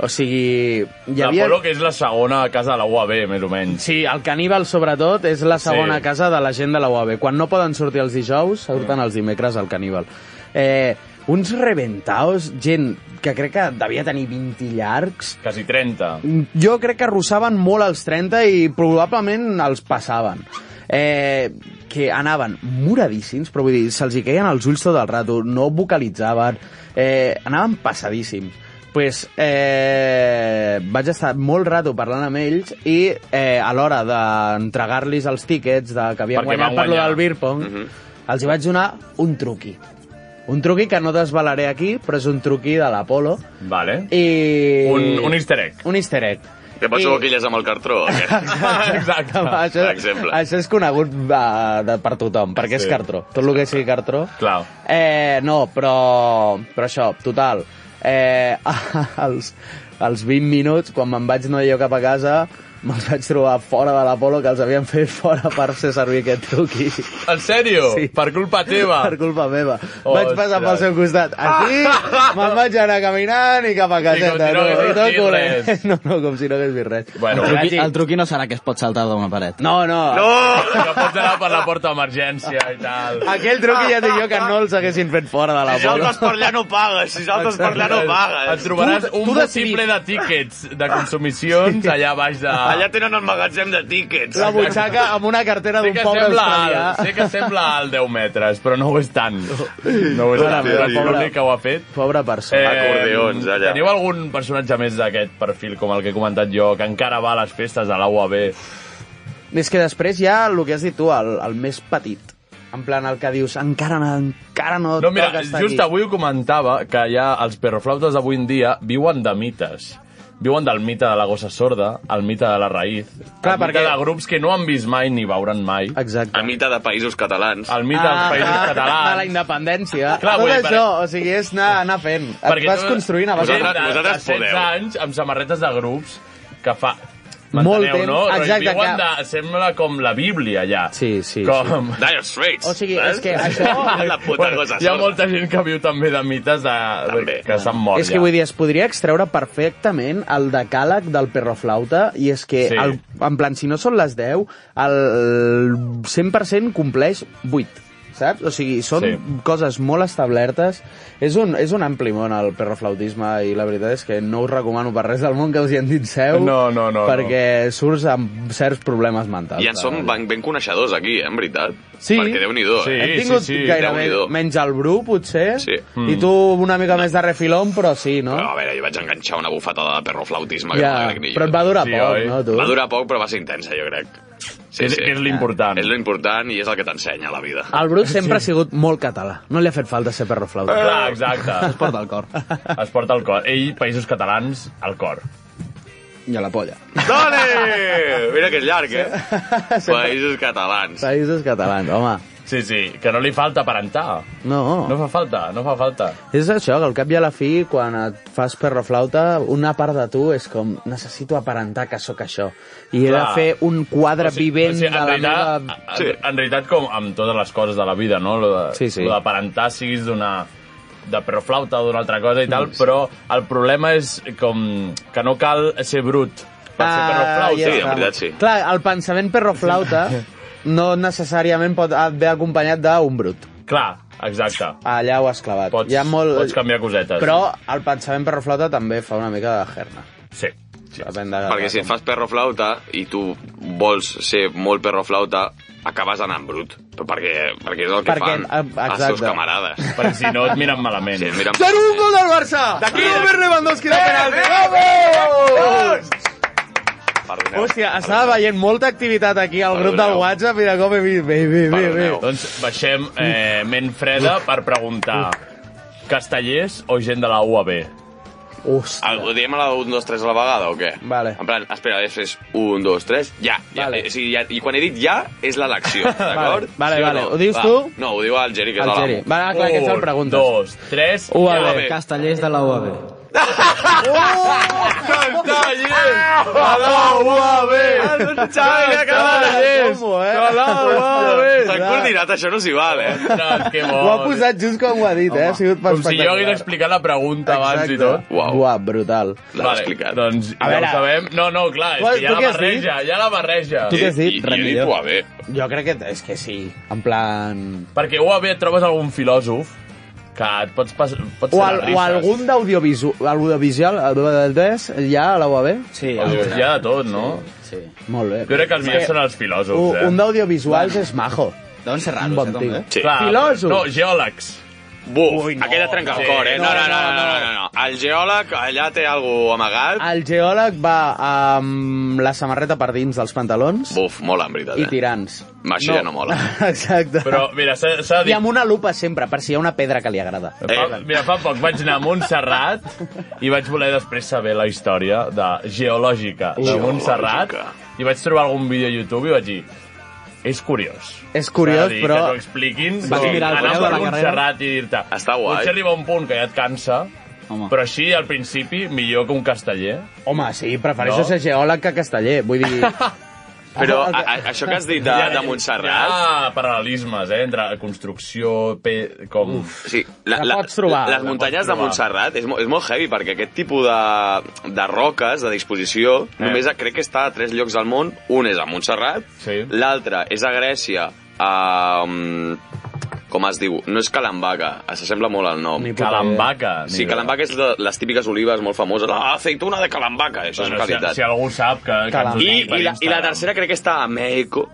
[SPEAKER 8] O sigui, hi havia...
[SPEAKER 3] L'Apolo, que és la segona casa de la UAB, més o menys.
[SPEAKER 8] Sí, el caníbal, sobretot, és la segona
[SPEAKER 3] Sí.
[SPEAKER 8] sí. casa de la gent de la UAB. Quan no poden sortir els dijous, surten els dimecres al caníbal. Eh, uns reventaos, gent que crec que devia tenir 20 llargs,
[SPEAKER 3] Quasi 30.
[SPEAKER 8] jo crec que arrossaven molt els 30 i probablement els passaven. Eh, que anaven moradíssims, però vull dir, se'ls hi queien els ulls tot el rato, no vocalitzaven, eh, anaven passadíssims. Pues, eh, vaig estar molt rato parlant amb ells i eh, a l'hora d'entregar-los els tíquets de, que havien
[SPEAKER 3] Perquè
[SPEAKER 8] guanyat
[SPEAKER 3] van
[SPEAKER 8] per lo
[SPEAKER 3] guanyar. Mhm.
[SPEAKER 8] del beer pong, els hi vaig donar un truqui. Un truqui que no desvalaré aquí, però és un truqui de l'Apolo.
[SPEAKER 3] Vale.
[SPEAKER 8] Eh, I...
[SPEAKER 3] Un- un easter egg.
[SPEAKER 8] Un easter egg.
[SPEAKER 7] Què
[SPEAKER 8] I-
[SPEAKER 7] passa boquilles amb el cartró? o què?
[SPEAKER 3] Ah, Exacte.
[SPEAKER 8] això,
[SPEAKER 7] per exemple.
[SPEAKER 8] això és conegut uh, de, per tothom, perquè sí.
[SPEAKER 3] Sí.
[SPEAKER 8] és cartró. Tot el que sigui cartró...
[SPEAKER 3] Clar.
[SPEAKER 8] Eh, no, però, però això, total. Eh, als, als 20 minuts, quan me'n vaig no jo cap a casa, me'ls vaig trobar fora de l'Apolo, que els havien fet fora per fer servir aquest truqui.
[SPEAKER 3] En sèrio?
[SPEAKER 8] Sí.
[SPEAKER 3] Per culpa teva?
[SPEAKER 8] Per culpa meva.
[SPEAKER 3] Ostres. Ah!
[SPEAKER 8] Vaig passar pel seu costat. Així me'n vaig anar caminant i cap a
[SPEAKER 3] com
[SPEAKER 8] caseta.
[SPEAKER 3] si no hagués
[SPEAKER 8] tot
[SPEAKER 3] vist
[SPEAKER 8] dolent.
[SPEAKER 3] res.
[SPEAKER 8] No, no, com si no hagués vist res.
[SPEAKER 3] Bueno,
[SPEAKER 8] Em vaig
[SPEAKER 9] Truqui,
[SPEAKER 8] dir-
[SPEAKER 9] el truqui no serà que es pot saltar d'una paret.
[SPEAKER 8] No, no.
[SPEAKER 3] Que pots anar per la porta d'emergència i tal.
[SPEAKER 8] Aquell truc ja et dic jo que no els haguessin fet fora de la bola.
[SPEAKER 7] per allà no pagues, si saltes per allà no eh.
[SPEAKER 3] Et trobaràs
[SPEAKER 8] Tu-
[SPEAKER 3] un
[SPEAKER 8] tu decidis.
[SPEAKER 3] possible de tíquets, de consumicions, allà baix de...
[SPEAKER 7] Allà tenen el magatzem de tíquets.
[SPEAKER 8] La butxaca amb una cartera
[SPEAKER 3] Sé
[SPEAKER 8] d'un
[SPEAKER 3] que,
[SPEAKER 8] pobre
[SPEAKER 3] sembla
[SPEAKER 8] australià.
[SPEAKER 3] alt, sé que sembla al 10 metres, però no ho és tant. No ho és tant,
[SPEAKER 8] meva,
[SPEAKER 3] el poble
[SPEAKER 8] pobre.
[SPEAKER 3] que ho ha fet.
[SPEAKER 8] Pobra persona.
[SPEAKER 7] Acordeons,
[SPEAKER 3] Eh,
[SPEAKER 7] allà.
[SPEAKER 3] Teniu algun personatge més d'aquest perfil, com el que he comentat jo, que encara va a les festes de la UAB?
[SPEAKER 8] És que després hi ha el que has dit tu, el, el més petit. En plan, el que dius, encara no, encara no,
[SPEAKER 3] No, mira,
[SPEAKER 8] toca estar
[SPEAKER 3] just
[SPEAKER 8] aquí.
[SPEAKER 3] avui ho comentava, que ja els perroflautes d'avui en dia viuen de mites. Viuen del mite de la gossa sorda, el mite de la raïz,
[SPEAKER 8] Clar,
[SPEAKER 3] el mite
[SPEAKER 8] perquè-
[SPEAKER 3] de grups que no han vist mai ni veuran mai,
[SPEAKER 8] Exacte.
[SPEAKER 7] A mite de països
[SPEAKER 8] Ah,
[SPEAKER 7] catalans.
[SPEAKER 3] el mite dels països
[SPEAKER 8] De la
[SPEAKER 3] catalans...
[SPEAKER 8] independència.
[SPEAKER 3] Clar,
[SPEAKER 8] Tot
[SPEAKER 3] vull dir,
[SPEAKER 8] això, o sigui, és anar, anar fent. Et vas
[SPEAKER 3] tu-
[SPEAKER 8] construint a base
[SPEAKER 7] Vosaltres-
[SPEAKER 3] Gent de-
[SPEAKER 7] vosaltres
[SPEAKER 3] de 16
[SPEAKER 7] podeu.
[SPEAKER 3] anys amb samarretes de grups que fa...
[SPEAKER 8] Molt
[SPEAKER 3] M'enteneu,
[SPEAKER 8] temps,
[SPEAKER 3] no? Però
[SPEAKER 8] exacte,
[SPEAKER 3] Viuen
[SPEAKER 8] que-
[SPEAKER 3] de, sembla com la Bíblia, allà.
[SPEAKER 8] Sí, sí,
[SPEAKER 3] Com...
[SPEAKER 7] Dire Straits.
[SPEAKER 8] O sigui,
[SPEAKER 7] saps?
[SPEAKER 8] és que això-
[SPEAKER 7] La puta
[SPEAKER 3] Bueno,
[SPEAKER 7] cosa
[SPEAKER 3] hi ha
[SPEAKER 7] sorda.
[SPEAKER 3] molta gent que viu també de mites de...
[SPEAKER 7] També.
[SPEAKER 3] que s'han mort
[SPEAKER 8] És que vull dir, es podria extreure perfectament el decàleg del perroflauta i és que,
[SPEAKER 3] Sí.
[SPEAKER 8] sí. el, en plan, si no són les 10, el 100% compleix 8 saps? O sigui, són
[SPEAKER 3] Sí.
[SPEAKER 8] sí. coses molt establertes. És un, és un ampli món el perroflautisme i la veritat és que no us recomano per res del món que us hi endinseu
[SPEAKER 3] No, no, no,
[SPEAKER 8] perquè no. surts amb certs problemes mentals.
[SPEAKER 7] I en som ben, ben coneixedors aquí, eh, en veritat.
[SPEAKER 8] Sí.
[SPEAKER 7] Perquè Déu-n'hi-do.
[SPEAKER 3] Sí.
[SPEAKER 7] eh?
[SPEAKER 8] Hem tingut
[SPEAKER 3] sí, sí.
[SPEAKER 8] gairebé
[SPEAKER 7] Déu-n'hi-do.
[SPEAKER 8] menys el Bru, potser,
[SPEAKER 7] Sí.
[SPEAKER 8] i tu una mica més de refilón, però sí, no?
[SPEAKER 7] Però, a veure, jo vaig enganxar una bufetada de perroflautisme que no la crec ni jo.
[SPEAKER 8] però et va durar
[SPEAKER 3] Sí,
[SPEAKER 8] sí, poc,
[SPEAKER 3] oi?
[SPEAKER 8] no, tu?
[SPEAKER 7] Va durar poc, però va ser intensa, jo crec. Sí,
[SPEAKER 3] És-
[SPEAKER 7] sí.
[SPEAKER 3] és l'important.
[SPEAKER 7] És l'important i és el que t'ensenya la vida.
[SPEAKER 8] El Bruce sempre sí. ha sigut molt català. No li ha fet falta ser perroflauta.
[SPEAKER 7] Eh.
[SPEAKER 3] Clar, exacte.
[SPEAKER 8] Es porta al cor.
[SPEAKER 3] Es porta al cor. Ell, Països Catalans, al cor.
[SPEAKER 8] I a la polla.
[SPEAKER 7] Dale! Mira que és llarg, eh? Països catalans.
[SPEAKER 8] Països catalans, home.
[SPEAKER 3] Sí, sí, que no li falta aparentar.
[SPEAKER 8] No.
[SPEAKER 3] No fa falta, no fa falta.
[SPEAKER 8] És això, que al cap i a la fi, quan et fas perroflauta, una part de tu és com, necessito aparentar que sóc això. I he de
[SPEAKER 3] Clar.
[SPEAKER 8] fer un quadre vivent
[SPEAKER 3] en
[SPEAKER 8] de la
[SPEAKER 3] realitat,
[SPEAKER 8] meva...
[SPEAKER 3] en- En realitat, com amb totes les coses de la vida, no? Lo de-
[SPEAKER 8] Sí, sí.
[SPEAKER 3] Lo d'aparentar siguis d'una de proflauta o d'una altra cosa i tal, però el problema és com que no cal ser brut per ser
[SPEAKER 8] Ah,
[SPEAKER 3] perroflauta.
[SPEAKER 8] ja està. Clar, el pensament perroflauta no necessàriament pot haver acompanyat d'un brut.
[SPEAKER 3] Clar, exacte.
[SPEAKER 8] Allà ho has clavat.
[SPEAKER 3] Pots,
[SPEAKER 8] Hi ha molt...
[SPEAKER 3] pots canviar cosetes.
[SPEAKER 8] Però el pensament perroflauta també fa una mica de gerna.
[SPEAKER 3] Sí.
[SPEAKER 8] sí. Depèn de...
[SPEAKER 7] Perquè si et fas perroflauta i tu vols ser molt perroflauta, acabes anant brut. Però Perquè, perquè és el que
[SPEAKER 8] Perquè,
[SPEAKER 7] fan
[SPEAKER 8] eh,
[SPEAKER 7] els seus
[SPEAKER 8] exacte.
[SPEAKER 7] camarades.
[SPEAKER 3] Perquè si no et miren malament.
[SPEAKER 7] Si et miren...
[SPEAKER 8] 0 un gol del Barça! D'aquí! Robert Lewandowski de penalti! Vamos!
[SPEAKER 7] Perdoneu.
[SPEAKER 8] Hòstia, estava veient molta activitat aquí al grup del WhatsApp i de cop he vist... Bé, bé, bé, bé.
[SPEAKER 3] Perdoneu. Doncs baixem eh, ment freda per preguntar castellers o gent de la UAB?
[SPEAKER 8] Hòstia.
[SPEAKER 7] Ho diem a la 1, 2, 3 a la vegada o què?
[SPEAKER 8] Vale.
[SPEAKER 7] En plan, espera, és, és 1, 2, 3, ja. ja,
[SPEAKER 8] Vale.
[SPEAKER 7] vale. o sigui, ja I quan he dit ja, és l'elecció, d'acord?
[SPEAKER 8] vale,
[SPEAKER 7] o
[SPEAKER 8] vale.
[SPEAKER 7] No?
[SPEAKER 8] Ho dius
[SPEAKER 7] Va.
[SPEAKER 8] tu?
[SPEAKER 7] No, ho diu el Geri, que és
[SPEAKER 8] El
[SPEAKER 7] l'amo.
[SPEAKER 8] Geri. Va, Ah, clar, que se'l preguntes.
[SPEAKER 3] dos, tres...
[SPEAKER 8] UAB.
[SPEAKER 7] Ja va bé.
[SPEAKER 9] Castellers de la UAB.
[SPEAKER 3] Castellers!
[SPEAKER 8] Ah!
[SPEAKER 3] A la UAB!
[SPEAKER 7] Xavi, que
[SPEAKER 3] Castellers!
[SPEAKER 8] Combo, eh?
[SPEAKER 3] A la UAB!
[SPEAKER 7] Tan coordinat, això no s'hi val, eh?
[SPEAKER 3] No, que bo.
[SPEAKER 8] Ho ha posat just com ho ha dit, eh? Ha sigut
[SPEAKER 3] Com si jo hagués
[SPEAKER 8] espectacular.
[SPEAKER 3] explicat la pregunta abans i tot.
[SPEAKER 7] Uau.
[SPEAKER 8] Uau, brutal.
[SPEAKER 7] L'ha vale. explicat.
[SPEAKER 3] doncs ja
[SPEAKER 8] A veure.
[SPEAKER 3] ho sabem. No, no, clar, és
[SPEAKER 8] Tu-
[SPEAKER 3] que ja
[SPEAKER 8] tu
[SPEAKER 3] la
[SPEAKER 8] què has dit?
[SPEAKER 3] barreja, ja la barreja.
[SPEAKER 8] Tu què has dit?
[SPEAKER 7] I,
[SPEAKER 8] Res
[SPEAKER 7] i he dit
[SPEAKER 8] millor.
[SPEAKER 7] UAB.
[SPEAKER 8] Jo crec que és que sí. En plan...
[SPEAKER 3] Perquè UAB et trobes algun filòsof que et pots, pas, pots
[SPEAKER 8] O,
[SPEAKER 3] fer
[SPEAKER 8] al,
[SPEAKER 3] les
[SPEAKER 8] o
[SPEAKER 3] risses.
[SPEAKER 8] algun d'audiovisual, audiovisual, audiovisual, ja a la UAB?
[SPEAKER 9] Sí,
[SPEAKER 3] Audiovisual. Hi ha de tot, no?
[SPEAKER 9] Sí.
[SPEAKER 8] Molt bé.
[SPEAKER 3] Jo crec que els millors
[SPEAKER 8] Sí.
[SPEAKER 3] són els filòsofs,
[SPEAKER 8] Un,
[SPEAKER 3] eh?
[SPEAKER 8] un d'audiovisuals és majo.
[SPEAKER 9] Deuen ser
[SPEAKER 8] Un
[SPEAKER 9] raros,
[SPEAKER 8] bon
[SPEAKER 9] eh,
[SPEAKER 8] tio.
[SPEAKER 9] també.
[SPEAKER 7] Sí.
[SPEAKER 3] Clar,
[SPEAKER 8] Filòsof.
[SPEAKER 3] No, geòlegs.
[SPEAKER 7] Buf,
[SPEAKER 8] Ui, no,
[SPEAKER 7] aquella trenca el cor, eh?
[SPEAKER 3] sí,
[SPEAKER 7] No, no, no, no, no, no. El geòleg allà té algú amagat.
[SPEAKER 8] El geòleg va amb la samarreta per dins dels pantalons
[SPEAKER 7] Buf, mola, en veritat,
[SPEAKER 8] i
[SPEAKER 7] eh?
[SPEAKER 8] tirants.
[SPEAKER 7] Ma, això ja no mola.
[SPEAKER 8] Exacte.
[SPEAKER 3] Però, mira, s'ha s'ha
[SPEAKER 8] I
[SPEAKER 3] dit...
[SPEAKER 8] amb una lupa sempre, per si hi ha una pedra que li agrada.
[SPEAKER 3] Fa, mira, fa poc vaig anar a Montserrat i vaig voler després saber la història de geològica de
[SPEAKER 7] Geològica.
[SPEAKER 3] Montserrat i vaig trobar algun vídeo a YouTube i vaig dir és curiós.
[SPEAKER 8] És curiós,
[SPEAKER 3] És a dir,
[SPEAKER 8] però...
[SPEAKER 3] Que t'ho expliquin.
[SPEAKER 9] Vas
[SPEAKER 3] com
[SPEAKER 9] mirar el
[SPEAKER 3] anar
[SPEAKER 9] preu
[SPEAKER 3] per
[SPEAKER 9] de la carrera?
[SPEAKER 3] Montserrat i dir-te...
[SPEAKER 7] Està guai.
[SPEAKER 3] Potser arriba un punt que ja et cansa,
[SPEAKER 9] Home.
[SPEAKER 3] però així, al principi, millor que un casteller.
[SPEAKER 8] Home, sí, prefereixo
[SPEAKER 3] No?
[SPEAKER 8] ser geòleg que casteller. Vull dir...
[SPEAKER 7] Però a, a, això que has dit de, Ah, de Montserrat...
[SPEAKER 3] Hi ha paral·lelismes, eh, entre construcció, pe... com... Uf.
[SPEAKER 7] Sí, la,
[SPEAKER 8] La pots trobar,
[SPEAKER 7] Les
[SPEAKER 8] la
[SPEAKER 7] muntanyes
[SPEAKER 3] pots
[SPEAKER 7] de
[SPEAKER 3] trobar.
[SPEAKER 7] Montserrat és, mo- és molt heavy perquè aquest tipus de, de roques, de disposició, eh. només a- crec que està a tres llocs del món. Un és a Montserrat,
[SPEAKER 3] Sí.
[SPEAKER 7] l'altre és a Grècia, a... mm, com es diu? No és Calambaca, s'assembla molt al nom.
[SPEAKER 8] Ni puta
[SPEAKER 3] Calambaca.
[SPEAKER 7] Sí, Calambaca és de les típiques olives molt famoses. La aceituna de Calambaca, això
[SPEAKER 3] Bueno,
[SPEAKER 7] és qualitat.
[SPEAKER 3] Si, si algú sap que... que ens ho
[SPEAKER 8] Calambaca.
[SPEAKER 7] I,
[SPEAKER 3] digui per
[SPEAKER 7] i, la, I la
[SPEAKER 3] Instagram.
[SPEAKER 7] tercera crec que està a Mèxico,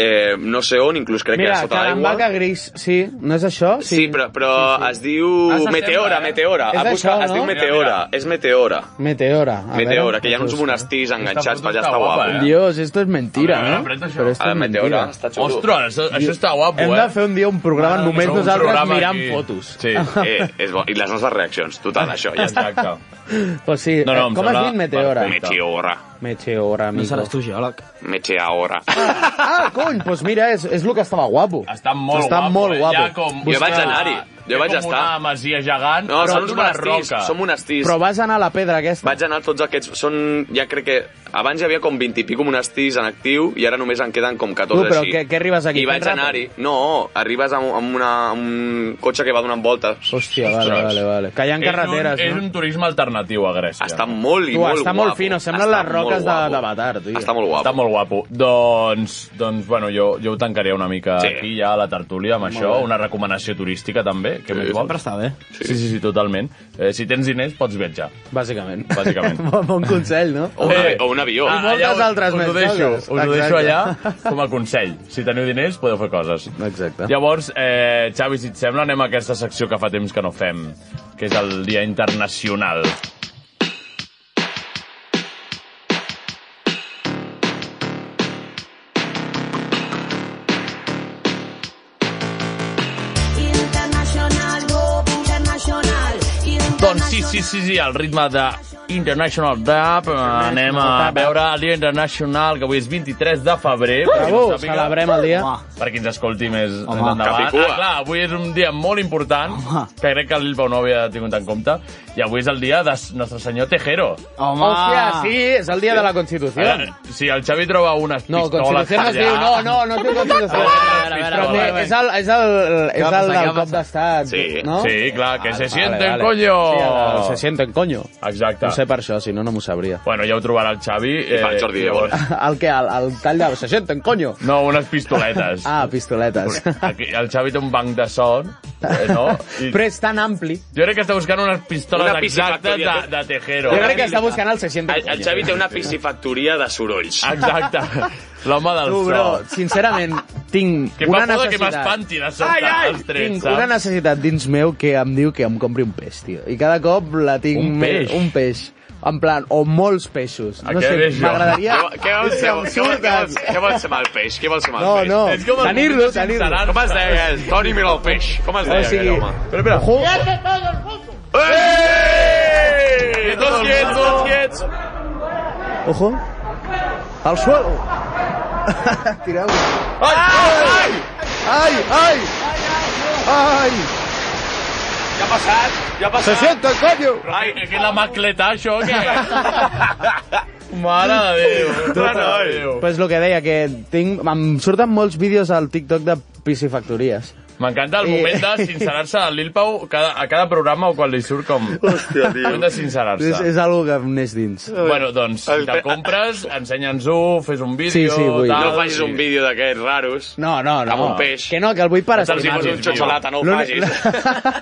[SPEAKER 7] eh, no sé on, inclús crec
[SPEAKER 8] Mira,
[SPEAKER 7] que sota l'aigua.
[SPEAKER 8] Calambaca gris, sí, no és això?
[SPEAKER 7] Sí, sí, però, però sí, sí. es diu
[SPEAKER 3] Ah, s'assembla,
[SPEAKER 7] Meteora,
[SPEAKER 3] eh?
[SPEAKER 7] Meteora.
[SPEAKER 8] És
[SPEAKER 7] A buscar,
[SPEAKER 8] això,
[SPEAKER 7] es diu
[SPEAKER 8] no?
[SPEAKER 7] Meteora,
[SPEAKER 3] Mira,
[SPEAKER 7] és Meteora.
[SPEAKER 8] Meteora. A
[SPEAKER 7] Meteora,
[SPEAKER 8] veure, doncs,
[SPEAKER 7] que hi ha uns
[SPEAKER 8] Jesús.
[SPEAKER 7] monestirs enganxats
[SPEAKER 3] foto
[SPEAKER 7] per allà,
[SPEAKER 3] està
[SPEAKER 7] està
[SPEAKER 3] guapa,
[SPEAKER 7] guapa.
[SPEAKER 3] eh?
[SPEAKER 8] Dios, esto es mentira,
[SPEAKER 3] A veure,
[SPEAKER 8] no?
[SPEAKER 3] apreta això.
[SPEAKER 8] Però esto
[SPEAKER 7] A
[SPEAKER 8] es
[SPEAKER 7] Meteora,
[SPEAKER 8] mentira.
[SPEAKER 7] està xulo.
[SPEAKER 3] Ostres, això, això està guapo,
[SPEAKER 8] Hem
[SPEAKER 3] eh?
[SPEAKER 8] de fer un dia un programa
[SPEAKER 3] Mare
[SPEAKER 8] només
[SPEAKER 3] meva, un
[SPEAKER 8] nosaltres
[SPEAKER 3] programa
[SPEAKER 8] mirant
[SPEAKER 3] aquí.
[SPEAKER 8] fotos.
[SPEAKER 3] Sí.
[SPEAKER 7] Eh, és bo. I les nostres reaccions, total, això, ja està.
[SPEAKER 3] Exacte.
[SPEAKER 8] O sigui,
[SPEAKER 3] No, no, em
[SPEAKER 8] eh, com has
[SPEAKER 3] sembla
[SPEAKER 8] dit Meteora?
[SPEAKER 3] perfecte.
[SPEAKER 7] Meteora,
[SPEAKER 8] Meteora,
[SPEAKER 9] No
[SPEAKER 8] amigo.
[SPEAKER 9] seràs tu geòleg.
[SPEAKER 7] Meteora.
[SPEAKER 8] Ah, cony, doncs mira, és, és el que estava guapo.
[SPEAKER 3] Està molt
[SPEAKER 8] Està
[SPEAKER 3] guapo.
[SPEAKER 8] molt
[SPEAKER 3] eh?
[SPEAKER 8] guapo.
[SPEAKER 3] Ja com,
[SPEAKER 7] Jo vaig
[SPEAKER 3] Busca-
[SPEAKER 7] anar-hi. Jo
[SPEAKER 3] ja
[SPEAKER 7] vaig
[SPEAKER 3] com
[SPEAKER 7] estar.
[SPEAKER 3] una masia gegant.
[SPEAKER 7] No,
[SPEAKER 3] però
[SPEAKER 7] són uns
[SPEAKER 3] d'una
[SPEAKER 7] monestirs,
[SPEAKER 3] roca.
[SPEAKER 7] són monestirs.
[SPEAKER 8] Però vas anar a la pedra aquesta.
[SPEAKER 7] Vaig anar a tots aquests, són, ja crec que abans hi havia com 20 i pico monestirs en actiu i ara només en queden com 14
[SPEAKER 8] Tu, però
[SPEAKER 7] així.
[SPEAKER 8] què- què arribes aquí,
[SPEAKER 7] I vaig
[SPEAKER 8] fent
[SPEAKER 7] anar-hi. No, arribes amb, amb, una, amb un cotxe que va donant voltes.
[SPEAKER 8] Hòstia, vale,
[SPEAKER 7] Ostres.
[SPEAKER 8] vale, vale. Que hi ha
[SPEAKER 3] És un-
[SPEAKER 8] carreteres,
[SPEAKER 3] És
[SPEAKER 8] no?
[SPEAKER 3] un turisme alternatiu a Grècia.
[SPEAKER 7] Està molt i
[SPEAKER 8] Tu,
[SPEAKER 7] molt
[SPEAKER 8] està
[SPEAKER 7] guapo.
[SPEAKER 8] molt fino, semblen
[SPEAKER 7] Està
[SPEAKER 8] les roques
[SPEAKER 7] molt
[SPEAKER 8] de-
[SPEAKER 7] guapo.
[SPEAKER 8] d'Avatar, tio.
[SPEAKER 7] Està molt
[SPEAKER 3] Està
[SPEAKER 7] guapo.
[SPEAKER 3] molt guapo. Doncs, doncs bueno, jo, jo ho tancaria una mica
[SPEAKER 7] Sí.
[SPEAKER 3] aquí ja a la tertúlia amb això, una recomanació turística també, que més
[SPEAKER 9] Però
[SPEAKER 3] vols.
[SPEAKER 9] està bé.
[SPEAKER 3] Sí, sí, sí, totalment. Eh, si tens diners, pots viatjar.
[SPEAKER 8] Bàsicament.
[SPEAKER 3] Bàsicament. Oh.
[SPEAKER 8] bon, bon consell, no?
[SPEAKER 7] O, una, o un avió.
[SPEAKER 8] Ah. moltes
[SPEAKER 3] allà us-
[SPEAKER 8] altres
[SPEAKER 3] us
[SPEAKER 8] més
[SPEAKER 3] ho deixo,
[SPEAKER 8] coses.
[SPEAKER 3] Us ho deixo
[SPEAKER 8] Exacte.
[SPEAKER 3] allà com a consell. Si teniu diners, podeu fer coses.
[SPEAKER 8] Exacte.
[SPEAKER 3] Llavors, eh, Xavi, si et sembla, anem a aquesta secció que fa temps que no fem, que és el Dia Internacional. Doncs sí, sí, sí, sí, al ritme de International Dub. eh, Anem a veure el dia internacional, que avui és 23 de febrer.
[SPEAKER 8] Uh!
[SPEAKER 3] perquè no
[SPEAKER 8] Bravo,
[SPEAKER 3] sàpiga-
[SPEAKER 8] celebrem el dia.
[SPEAKER 3] Home. Perquè ens escolti més, més endavant.
[SPEAKER 7] Capicua.
[SPEAKER 3] Ah, clar, avui és un dia molt important, Home. que crec que el Bilbao no havia tingut en compte. I avui és el dia de s- Nostre Senyor Tejero.
[SPEAKER 8] Home. Hòstia, sí, és el dia de la Constitució.
[SPEAKER 3] Ara, si el Xavi troba unes
[SPEAKER 8] No,
[SPEAKER 3] pistoles...
[SPEAKER 8] Constitució no es
[SPEAKER 3] allà-
[SPEAKER 8] diu, no, no, no es diu Constitució.
[SPEAKER 3] A veure, a veure, a veure, a veure.
[SPEAKER 8] Però És el, és el,
[SPEAKER 3] Què va
[SPEAKER 8] és el
[SPEAKER 3] passar, què
[SPEAKER 8] del
[SPEAKER 3] va
[SPEAKER 8] cop d'estat,
[SPEAKER 3] Sí, Oh.
[SPEAKER 8] no?
[SPEAKER 3] sí, clar, que se sienten,
[SPEAKER 8] vale.
[SPEAKER 3] coño.
[SPEAKER 8] Sí, el- el se sienten, coño.
[SPEAKER 3] Exacte.
[SPEAKER 8] No sé per això, si no, no m'ho sabria.
[SPEAKER 3] Bueno, ja ho trobarà el Xavi. eh,
[SPEAKER 7] I pel Jordi, llavors.
[SPEAKER 8] El que, el, el tall de... Se sienten, coño.
[SPEAKER 3] No, unes pistoletes.
[SPEAKER 8] Ah, pistoletes.
[SPEAKER 3] Aquí, el Xavi té un banc de son, eh, no? I
[SPEAKER 8] Però és tan ampli.
[SPEAKER 3] jo crec que està buscant unes pistoles
[SPEAKER 7] Una
[SPEAKER 3] exactes de,
[SPEAKER 7] piscifactoria.
[SPEAKER 3] de Tejero.
[SPEAKER 8] Jo crec que està buscant el se sienten,
[SPEAKER 7] El, el Xavi té una piscifactoria de sorolls.
[SPEAKER 3] Exacte. L'home del
[SPEAKER 8] Tu, bro,
[SPEAKER 3] sol.
[SPEAKER 8] sincerament, tinc
[SPEAKER 3] Que
[SPEAKER 8] una
[SPEAKER 3] fa por de que
[SPEAKER 8] necessitat.
[SPEAKER 3] m'espanti de sobte els trets,
[SPEAKER 8] Tinc
[SPEAKER 3] saps?
[SPEAKER 8] una necessitat dins meu que em diu que em compri un peix, tio. I cada cop la tinc...
[SPEAKER 3] Un peix?
[SPEAKER 8] Un peix. En plan, o molts peixos.
[SPEAKER 3] A
[SPEAKER 8] no
[SPEAKER 3] què
[SPEAKER 8] sé,
[SPEAKER 3] ve això?
[SPEAKER 8] m'agradaria...
[SPEAKER 7] Què, vol- què, vols,
[SPEAKER 8] És que
[SPEAKER 7] què,
[SPEAKER 8] em
[SPEAKER 7] vols, què,
[SPEAKER 8] surt
[SPEAKER 7] vols, què,
[SPEAKER 8] que-
[SPEAKER 7] vols, què vols ser amb el peix? Què vols ser amb el
[SPEAKER 8] No,
[SPEAKER 7] peix?
[SPEAKER 8] no.
[SPEAKER 3] És com el
[SPEAKER 8] Tenir-lo,
[SPEAKER 3] moment de
[SPEAKER 8] tenir-lo.
[SPEAKER 3] sincerar-se.
[SPEAKER 7] Com es deia? el Toni mira el peix. Com es
[SPEAKER 8] O
[SPEAKER 7] deia
[SPEAKER 8] sigui...
[SPEAKER 7] aquell home?
[SPEAKER 8] Però, espera, ojo,
[SPEAKER 7] ¡Eh! ¡Dos quiets, dos quiets!
[SPEAKER 8] ojo. Al suelo. Tireu-lo.
[SPEAKER 7] ¡Ay, ay, ay!
[SPEAKER 8] Ai, ai! Ai!
[SPEAKER 7] Ja ha passat, ja ha
[SPEAKER 8] Se
[SPEAKER 7] passat.
[SPEAKER 8] sienten, coño!
[SPEAKER 3] Ai, que la macletà, això, què? Mare de Déu. Mare de Déu.
[SPEAKER 8] Pues lo que deia, que tinc... Em surten molts vídeos al TikTok de piscifactories.
[SPEAKER 3] M'encanta el moment de sincerar-se a Lil Pau cada, a cada programa o quan li surt com... Hòstia, tio. Moment de sincerar-se.
[SPEAKER 8] És, és algo que em neix dins.
[SPEAKER 3] Bueno, doncs, si te'l compres, ensenya'ns-ho, fes un vídeo...
[SPEAKER 8] Sí, sí, vull.
[SPEAKER 3] tal,
[SPEAKER 7] No facis un vídeo d'aquests raros.
[SPEAKER 8] No, no, no.
[SPEAKER 7] Amb un peix.
[SPEAKER 8] Que no, que el vull per
[SPEAKER 7] Se'ls hi
[SPEAKER 8] estimar.
[SPEAKER 7] posa un
[SPEAKER 3] Imagina't,
[SPEAKER 7] xotxolata, no ho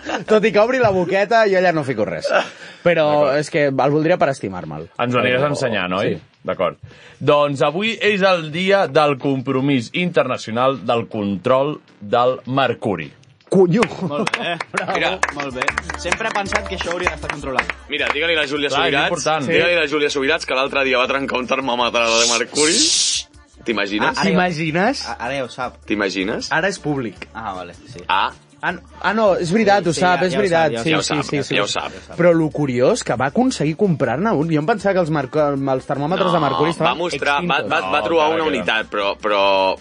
[SPEAKER 7] facis.
[SPEAKER 8] Tot i que obri la boqueta, jo allà no fico res. Però és que el voldria per estimar-me'l.
[SPEAKER 3] Ens ho aniràs a ensenyar, noi? Sí. D'acord. Doncs avui és el dia del compromís internacional del control del mercuri.
[SPEAKER 8] Cunyo!
[SPEAKER 7] Mira,
[SPEAKER 9] Molt bé. Sempre he pensat que això hauria d'estar controlat.
[SPEAKER 7] mira, digue-li a la Júlia
[SPEAKER 3] Clar, és
[SPEAKER 7] Subirats,
[SPEAKER 3] important. Sí.
[SPEAKER 7] digue-li a la Júlia Subirats que l'altre dia va trencar un termòmetre de mercuri. T'imagines?
[SPEAKER 9] Ah,
[SPEAKER 8] T'imagines?
[SPEAKER 9] A- Ara ja ho sap.
[SPEAKER 7] T'imagines?
[SPEAKER 8] Ara és públic.
[SPEAKER 9] Ah, vale, sí.
[SPEAKER 7] Ah,
[SPEAKER 8] Ah, no- ah, no, és veritat, ho
[SPEAKER 9] Sí, sí,
[SPEAKER 8] sap,
[SPEAKER 9] ja-
[SPEAKER 8] és
[SPEAKER 9] ja ho
[SPEAKER 8] veritat.
[SPEAKER 9] sap,
[SPEAKER 8] sí,
[SPEAKER 7] ja ho
[SPEAKER 8] sí,
[SPEAKER 7] sap,
[SPEAKER 8] sí, sí.
[SPEAKER 7] ja ho sap.
[SPEAKER 8] Però lo curiós que va aconseguir comprar-ne un. Jo em pensava que els, mar... els termòmetres de
[SPEAKER 7] va
[SPEAKER 8] mercuri estaven
[SPEAKER 7] mostrar, va,
[SPEAKER 8] extintos.
[SPEAKER 7] va, va
[SPEAKER 3] No,
[SPEAKER 7] trobar
[SPEAKER 3] encara
[SPEAKER 7] una
[SPEAKER 3] queda.
[SPEAKER 7] unitat, però, però